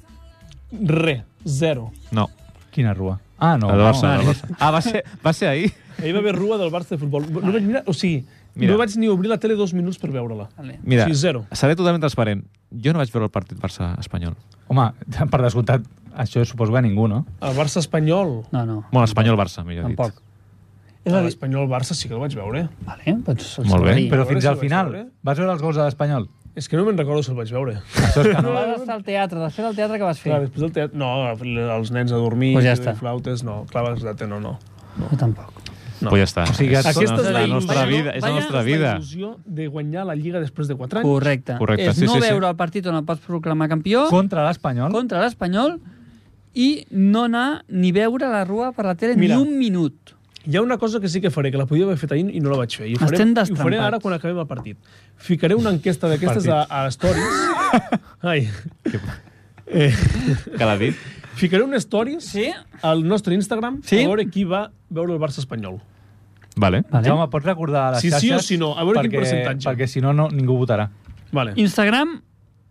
S3: Re, zero.
S2: No,
S1: Quina rua? Ah, no.
S2: el Barça,
S1: no.
S2: el Barça. Ah, va ser, va ser ahir?
S3: Ahir va haver rua del Barça de futbol. No vaig mirar, o sigui,
S2: Mira.
S3: no vaig ni obrir la tele dos minuts per veure-la.
S4: Vale.
S2: Mira,
S3: Sí, zero.
S2: seré totalment transparent. Jo no vaig veure el partit Barça-Espanyol.
S1: Home, per descomptat, això suposo que a ningú, no?
S3: El Barça espanyol.
S4: No, no,
S2: Bueno, Espanyol-Barça, millor dit.
S4: tampoc.
S3: És a dir, espanyol Barça sí que el vaig veure.
S4: Vale, doncs els
S2: Molt bé.
S4: obrim.
S1: Però
S3: veure
S1: fins
S3: si ho
S1: al
S3: vaig
S1: final.
S3: veure.
S1: Vas veure els gols de l'Espanyol?
S3: És que no me'n recordo si el vaig veure.
S1: Això és que
S4: No
S1: no.
S4: vas estar al teatre, després del teatre que vas fer.
S3: Clar, després del teatre... No, els nens a dormir,
S4: Pues ja està.
S3: flautes, no. Clar, el teatre no, no.
S4: Jo tampoc.
S2: No. Pues ja està.
S1: O sigui,
S2: és,
S1: aquesta
S2: és
S3: és
S2: la
S3: la
S2: nostra
S3: il·lusió.
S2: vida. És la
S4: Vaya,
S2: nostra
S3: És
S2: vida.
S3: La il·lusió de guanyar la Lliga després de 4 anys.
S4: Correcte.
S2: Correcte,
S4: És
S2: sí,
S4: no
S2: sí, sí.
S4: veure el partit on el pots proclamar campió
S1: Contra l'Espanyol?
S4: Oh. contra l'Espanyol i no anar ni veure la rua per la tele
S3: Mira.
S4: ni un minut.
S3: Hi ha una cosa que sí que faré, que la podia haver fet ahir i no la vaig fer. I ho faré,
S4: Estem
S3: i ho faré
S4: destrampats.
S3: ara quan acabem el partit. Ficaré una enquesta d'aquestes a, a Stories. Ai. Eh,
S2: Que l'ha dit.
S3: ficaré un Stories
S4: Sí?
S3: al nostre Instagram
S4: Sí?
S3: a veure qui va veure el Barça espanyol.
S2: Vale.
S4: Vale.
S1: Jaume, pots recordar a les
S3: Si sí
S1: xarxes?
S3: o si no, a veure quin
S1: perquè,
S3: percentatge.
S1: Perquè si no, no ningú votarà.
S3: Vale.
S4: Instagram,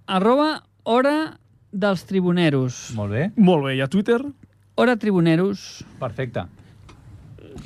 S4: arroba hora dels tribuneros.
S1: Molt bé,
S3: Molt bé, i a Twitter?
S4: Hora tribuneros.
S1: perfecte.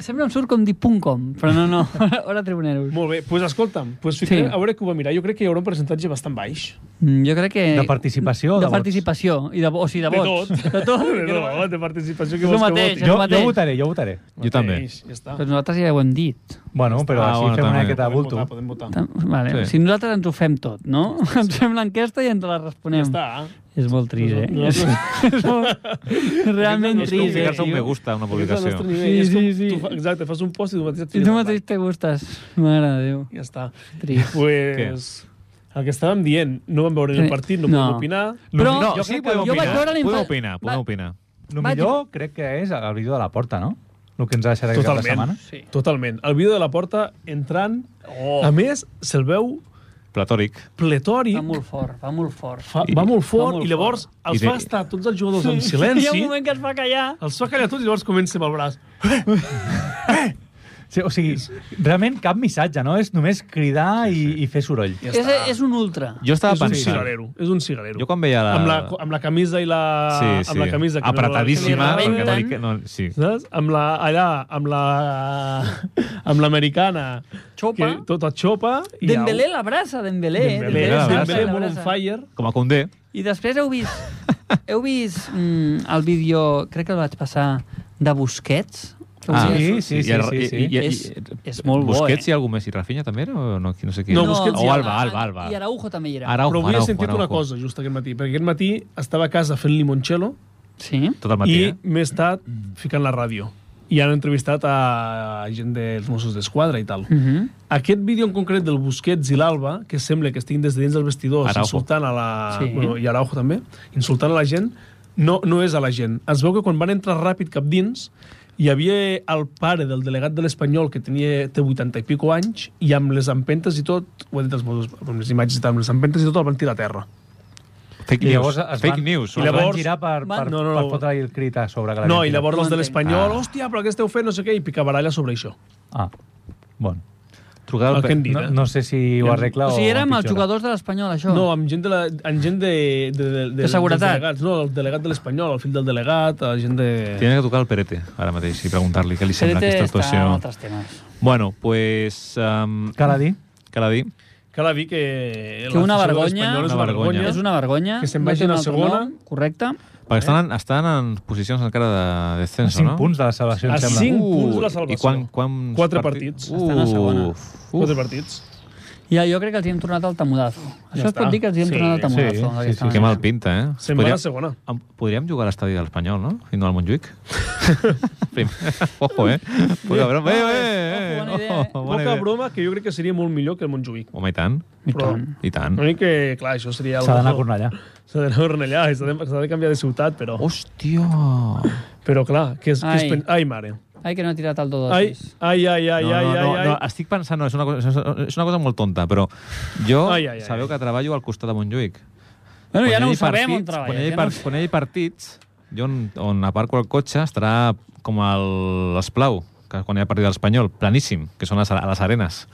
S4: Sempre em surt com dir punt com, però no, no. Hora tribuneros.
S3: Molt bé, doncs pues escolta'm, pues
S4: Sí.
S3: fiquem, a veure que ho va mirar. Jo crec que hi haurà un percentatge bastant baix.
S4: Mm, Jo crec que...
S1: De participació o de
S4: de,
S1: vots?
S4: participació. I de, vo- o sigui, de
S3: tot.
S4: vots. De tot.
S3: De, tot, de participació que
S4: És
S3: vols
S4: el
S3: que
S4: mateix,
S3: voti.
S4: és el
S1: Jo, jo
S4: mateix.
S1: votaré, jo votaré.
S2: Jo també.
S3: Mateix, Ja està.
S4: Però nosaltres ja ho hem dit.
S1: Bueno, però
S2: Ah,
S1: així
S2: bueno,
S1: fem una
S2: també.
S1: miqueta de
S3: Podem
S1: bulto.
S3: votar, podem votar.
S4: Tam- Vale.
S2: Sí.
S4: Sí. Si nosaltres ens ho fem tot, no? Ens fem l'enquesta i ens la
S3: Ja
S4: responem.
S3: està.
S4: És molt trist, eh? És, és molt, és realment
S3: És com
S4: trist, eh?
S2: Ficar-se un
S4: tio?
S2: me gusta a una
S3: Aquest és el
S2: publicació.
S3: nostre nivell.
S4: Sí,
S3: És com
S4: sí, sí.
S3: Tu, fa- exacte, fas un post i tu mateix et
S4: I
S3: fiques
S4: tu
S3: al
S4: mateix te gustes. Mare de Déu.
S3: blanc. Ja està.
S4: Trist.
S3: Pues, el que estàvem dient, no vam veure ni el
S4: Sí.
S3: partit, no,
S4: No.
S3: podem opinar.
S4: Però
S2: no,
S4: jo
S2: sí,
S4: crec que-
S2: podem
S4: jo vaig
S2: opinar.
S4: veure l'infa-
S2: Podem opinar,
S4: Va-
S2: podem opinar.
S1: El
S4: Vaig-
S1: millor crec que és el vídeo de la porta, no? El que ens ha deixat aquesta setmana.
S3: Totalment. Totalment. El vídeo de la porta entrant... Oh. A més, se'l veu
S2: Platòric.
S3: pletori,
S4: Va molt fort, va molt fort.
S3: fa, va molt fort,
S4: Va molt
S3: i llavors
S4: fort.
S2: I
S3: els
S2: de-
S3: fa estar tots els jugadors en
S4: Hi ha un
S3: silenci,
S4: moment que es va callar.
S3: els fa callar tots i llavors comença amb el braç.
S1: Sí, o sigui, realment cap missatge, no? És només cridar i, i fer soroll.
S3: Ja
S4: És,
S3: està.
S4: és un ultra.
S2: Jo estava
S3: és un
S2: pensant...
S3: cigarero, és un cigarero.
S2: Jo quan veia la...
S3: Amb, la, amb la camisa i la...
S2: Eh, Sí, sí.
S3: Amb la camisa que no-
S2: Apretadíssima,
S4: que no
S2: perquè no li...
S4: rebenten.
S2: No, sí.
S3: Saps? Amb la, allà, amb la... amb l'americana.
S4: Xopa.
S3: Que tota xopa. i au.
S4: Dembélé l'abraça, Dembélé. eh?
S3: Dembélé,
S2: Dembélé
S4: l'abraça,
S3: Dembélé molt on
S4: l'abraça.
S3: fire.
S2: Com a Condé.
S4: I després heu vist... heu vist mm, el vídeo, crec que el vaig passar, de Busquets? Que
S1: Ah,
S4: us hi ha
S1: sí,
S4: sortit?
S1: sí, sí, sí, sí.
S4: És- és molt bo,
S2: Busquets
S4: eh?
S2: i algú més. I Rafinha també era? O no, no sé qui.
S3: No,
S2: era.
S3: Busquets Oh,
S2: O
S3: i-
S2: Alba, Alba, Alba.
S4: I Araujo també hi era.
S2: Araujo,
S3: Però avui he
S2: Araujo,
S3: sentit una
S2: Araujo.
S3: cosa just aquest matí, perquè aquest matí estava a casa fent limoncello
S4: Sí?
S2: Tot el matí,
S3: i
S2: eh?
S3: més tard ficant la ràdio. I han entrevistat a gent dels Mossos d'Esquadra i tal.
S4: Uh -huh.
S3: Aquest vídeo en concret del Busquets i l'Alba, que sembla que estiguin des de dins del vestidor
S2: Araujo.
S3: insultant a la...
S4: Sí.
S3: Bueno, I Araujo també, insultant a la gent, no, no és a la gent. Es veu que quan van entrar ràpid cap dins, hi havia el pare del delegat de l'Espanyol que tenia té 80 i pico anys i amb les empentes i tot, ho he dit els modos, amb les imatges i tal, amb les empentes i tot el van tirar a terra.
S2: Fake
S1: I
S2: news.
S1: llavors es
S2: Fake
S1: van-
S2: news.
S3: I
S1: I llavors...
S3: llavors-
S1: Van girar per, per,
S3: No, no,
S1: per
S3: no.
S1: fotre-li el crit a sobre. Que l'havien
S3: No, i
S1: tirat.
S3: llavors els de
S4: No entenc.
S3: l'Espanyol,
S2: Ah.
S3: hòstia, però què esteu fent, no sé què, i pica baralla sobre això.
S1: Ah, bueno.
S2: Trucada
S3: El
S2: al
S3: que hem
S2: pe-
S3: dit,
S1: No,
S3: eh?
S1: no sé si ho arregla
S4: O sigui,
S1: o
S4: era amb els
S1: empitjora.
S4: jugadors de l'Espanyol, això.
S3: No, amb gent de, la, amb gent de, de, de,
S4: De seguretat.
S3: dels Delegats, no, el delegat de l'Espanyol, el fill del delegat, la gent de...
S2: Tenen que tocar el Perete, ara mateix, i preguntar-li què li
S4: Serete
S2: sembla aquesta
S4: està en
S2: actuació.
S4: altres temes.
S2: Bueno, pues... Um,
S1: Cal a dir?
S2: Cal a dir.
S3: Cal a dir que...
S4: Que una
S3: l'afició de
S4: vergonya-
S3: l'Espanyol és
S2: Una
S3: una
S2: vergonya.
S3: vergonya.
S4: És una vergonya.
S3: Que se'n
S4: no
S3: vagin
S4: té un
S3: a
S4: altre
S3: segona.
S4: nom, Correcte.
S2: Perquè estan, en- estan en posicions encara de
S1: A
S2: descens,
S1: 5
S2: no? uh,
S1: punts de la salvació,
S3: A
S1: em sembla.
S3: Ah, cinc punts de la
S2: I
S3: salvació.
S2: quan, quants
S3: Quatre partits.
S4: Estan a segona.
S2: Uf, uf.
S3: Quatre partits.
S4: Ja, jo crec que els hi hem tornat al tamudazo. Això es
S3: està.
S4: pot dir que els hi hem
S3: Sí,
S4: tornat al tamudazo.
S1: sí, sí,
S4: d'aquesta
S1: sí.
S2: Que
S4: manera.
S2: mal pinta, eh?
S3: Se'n va a la segona.
S2: Em- Podríem jugar a l'estadi de l'Espanyol, no? I no al Montjuïc? Primer. Ojo, eh? Poca broma. Eh, eh, eh.
S4: Ojo, bona idea, eh?
S2: Ojo, bona
S3: Poca
S2: idea.
S3: broma, que jo crec que seria molt millor que el Montjuïc.
S2: Home, i tant.
S4: I
S3: Però-
S4: tant.
S2: I tant.
S3: L'únic que, clar, això seria...
S1: S'ha d'anar a Cornellà.
S3: S'ha d'anar a Cornellà, i s'ha de, s'ha de canviar de ciutat, però...
S2: Hòstia!
S3: Però, clar, que és... Ai, que
S4: Ai.
S3: és pen... ai mare.
S4: Ai, que no ha tirat el do
S3: Ai,
S4: d'Otis.
S3: ai, ai, ai,
S2: no,
S3: ai,
S2: no, no,
S3: ai,
S2: no, ah.
S3: ai.
S2: estic pensant, no, és una cosa, és una cosa molt tonta, però jo
S3: Ai, ai, ai.
S2: sabeu que treballo al costat de Montjuïc.
S4: Bueno, ja
S2: Quan
S4: no
S2: hi
S4: ho
S2: hagi
S4: sabem
S2: partits-
S4: on
S2: Quan hi,
S4: treballa.
S2: hagi
S4: ja
S2: par,
S4: no ho sé.
S2: quan hi hagi partits, jo on, on aparco el cotxe estarà com el l'esplau, que quan hi ha partit de l'Espanyol, planíssim, que són les, a les arenes.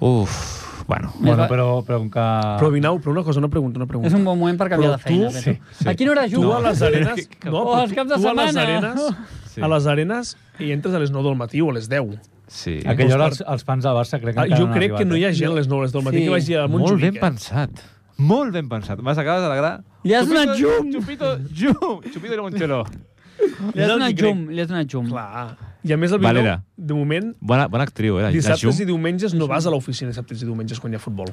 S2: Uf, bueno.
S1: Bueno,
S4: va-
S1: però, però com que...
S3: Però, Vinau, però una cosa, una pregunta, una pregunta.
S4: És un bon moment per canviar
S3: Però
S4: de feina.
S3: tu-
S4: Pedro.
S2: sí, sí.
S4: A quina hora
S3: Tu
S4: juga?
S3: a les arenes... No,
S4: O
S3: però
S4: els
S3: tu-
S4: caps de
S3: tu a les
S4: setmana.
S3: arenes,
S2: Sí.
S3: A les arenes hi entres a les 9 del matí o a les 10.
S2: Sí.
S1: Aquella hora els, els fans del Barça crec que
S3: Ah,
S1: encara
S3: jo
S1: no han
S3: crec que
S1: arribat,
S3: no hi
S1: eh?
S3: ha gent a les 9 del matí
S4: Sí.
S3: que vagi a
S2: Molt ben
S3: Montjuïc. eh?
S2: pensat. Molt ben pensat. M'has acabat d'alegrar.
S4: Li has
S2: Chupito-
S4: donat llum.
S2: Chupito, llum. Chupito de Montxeló.
S4: Li has
S3: És el
S4: donat
S3: que crec.
S4: llum, li has donat llum.
S3: Clar. I a més el Vinau,
S2: Valera.
S3: de moment,
S2: Bona, bona actriu, eh? la- la
S3: dissabtes i
S2: Llum.
S3: diumenges no vas a l'oficina dissabtes i diumenges quan hi ha futbol.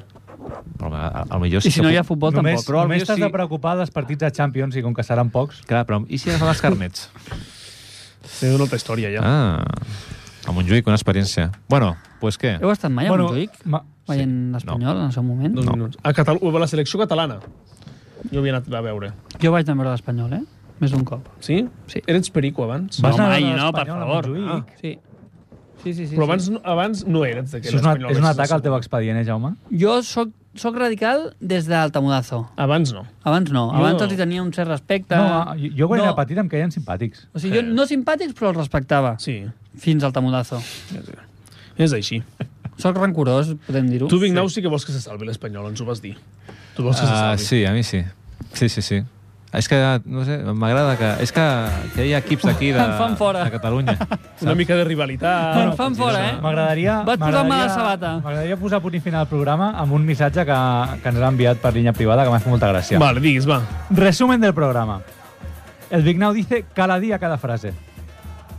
S2: Però, a, a, millor
S4: I si
S2: que
S4: no hi ha
S2: puc-
S4: futbol,
S1: Només,
S4: tampoc.
S2: però
S1: només
S2: potser
S1: t'has
S2: sí.
S1: de preocupar dels partits de Champions i com que seran pocs...
S2: Clar, però i si agafes els carnets?
S3: És una altra història, ja.
S2: Ah, a Montjuïc, una experiència. Bueno, pues què?
S4: Heu estat mai a Montjuïc?
S1: ma-
S4: Veient l'Espanyol en el seu moment?
S3: Dos minuts. A, Catal a la selecció catalana. Jo havia anat a veure.
S4: Jo vaig anar a veure l'Espanyol, eh? Més d'un cop.
S3: Sí?
S4: Sí.
S3: Eres perico abans?
S1: Vas
S4: No,
S1: anar a
S4: mai,
S1: l'Espanyol
S4: no, per
S1: a
S4: favor.
S1: Montjuïc?
S4: Sí. Sí, sí, sí.
S3: Però
S4: sí.
S3: abans, no- abans no eres d'aquell
S1: Això és, una,
S3: espanyol.
S1: és un atac al teu expedient, eh, Jaume?
S4: Jo sóc, sóc radical des d'Altamudazo.
S3: Abans no.
S4: Abans no.
S3: Jo-
S4: Abans els hi tenia un cert respecte.
S1: No, ah, jo, jo quan
S4: No.
S1: era petit eh. em caien simpàtics.
S4: O sigui, jo no simpàtics, però els respectava.
S3: Sí,
S4: Fins al tamudazo.
S3: és així.
S4: O Soc rancorós, podem dir-ho.
S3: Tu, Vignau, sí. sí que vols que se salvi l'Espanyol, ens ho vas dir. Tu vols que se
S2: Ah,
S3: salvi.
S2: sí, a mi sí. Sí, sí, sí. És que, no sé, m'agrada que... És que, que hi ha equips aquí de,
S4: Em fan fora.
S2: de Catalunya.
S3: Una mica de rivalitat.
S4: Em fan fora, eh?
S1: M'agradaria...
S4: Vaig posar
S1: m'agradaria-
S4: mala sabata.
S1: M'agradaria posar punt i final al programa amb un missatge que, que ens han enviat per línia privada que m'ha fet molta gràcia.
S3: Vale, digues, va.
S1: Resumen del programa. El Vignau dice cada día cada frase.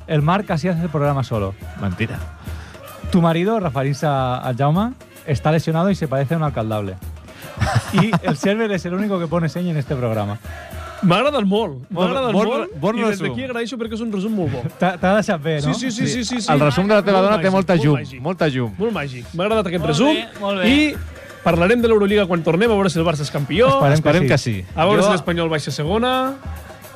S1: El Marc casi hace el programa solo.
S2: Mentira.
S1: Tu marido, referirse al Jaume, está lesionado y se parece a un alcaldable. Y el server es el único que pone seña en este programa.
S3: M'ha agradat molt. M'ha
S2: Bon-
S3: agradat
S2: bon-
S3: molt.
S2: bon
S3: I des
S2: resum.
S3: d'aquí agraeixo perquè és un resum molt bo.
S1: T'ha t'ha deixat bé, no?
S3: Sí, sí, sí, sí, sí, sí.
S2: El resum de la teva
S3: Molt
S2: dona té
S3: màgic,
S2: molta
S3: molt
S2: llum.
S3: màgic.
S2: Molta llum.
S3: Molt màgic. M'ha agradat aquest
S4: Molt
S3: resum.
S4: bé, molt bé.
S3: I parlarem de l'Euroliga quan tornem, a veure si el Barça és campió.
S1: Esperem
S2: Esperem
S1: que
S2: que
S1: sí.
S2: sí.
S3: A veure si l'Espanyol baixa a segona.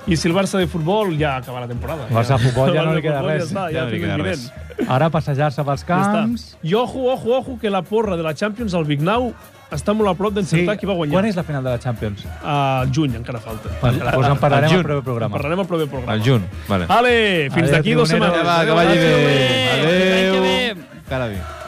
S3: I si el Barça de futbol ja acaba la temporada.
S1: El Barça de futbol ja no li queda res.
S3: Ja, està, ja,
S2: Ja no li
S3: ja
S2: queda
S3: res.
S2: res.
S1: Ara passejar-se pels camps...
S3: I ojo, ojo, ojo, que la porra de la Champions al Vignau està molt a prop d'encertar sí. qui va guanyar.
S1: Quan és la final de la Champions?
S3: Al juny, encara falta.
S1: Pues,
S3: Encara
S1: pues en parlarem
S2: juny.
S1: al proper programa.
S3: Parlarem al proper programa.
S2: El junt. Vale.
S3: Ale, fins
S1: Adéu,
S3: d'aquí dues
S1: tribuneros.
S3: setmanes.
S2: Va, Ah, que vagi
S3: Adéu,
S2: bé.
S3: adéu.
S4: Adéu.
S2: Adéu.
S4: Adéu.
S2: Cada dia.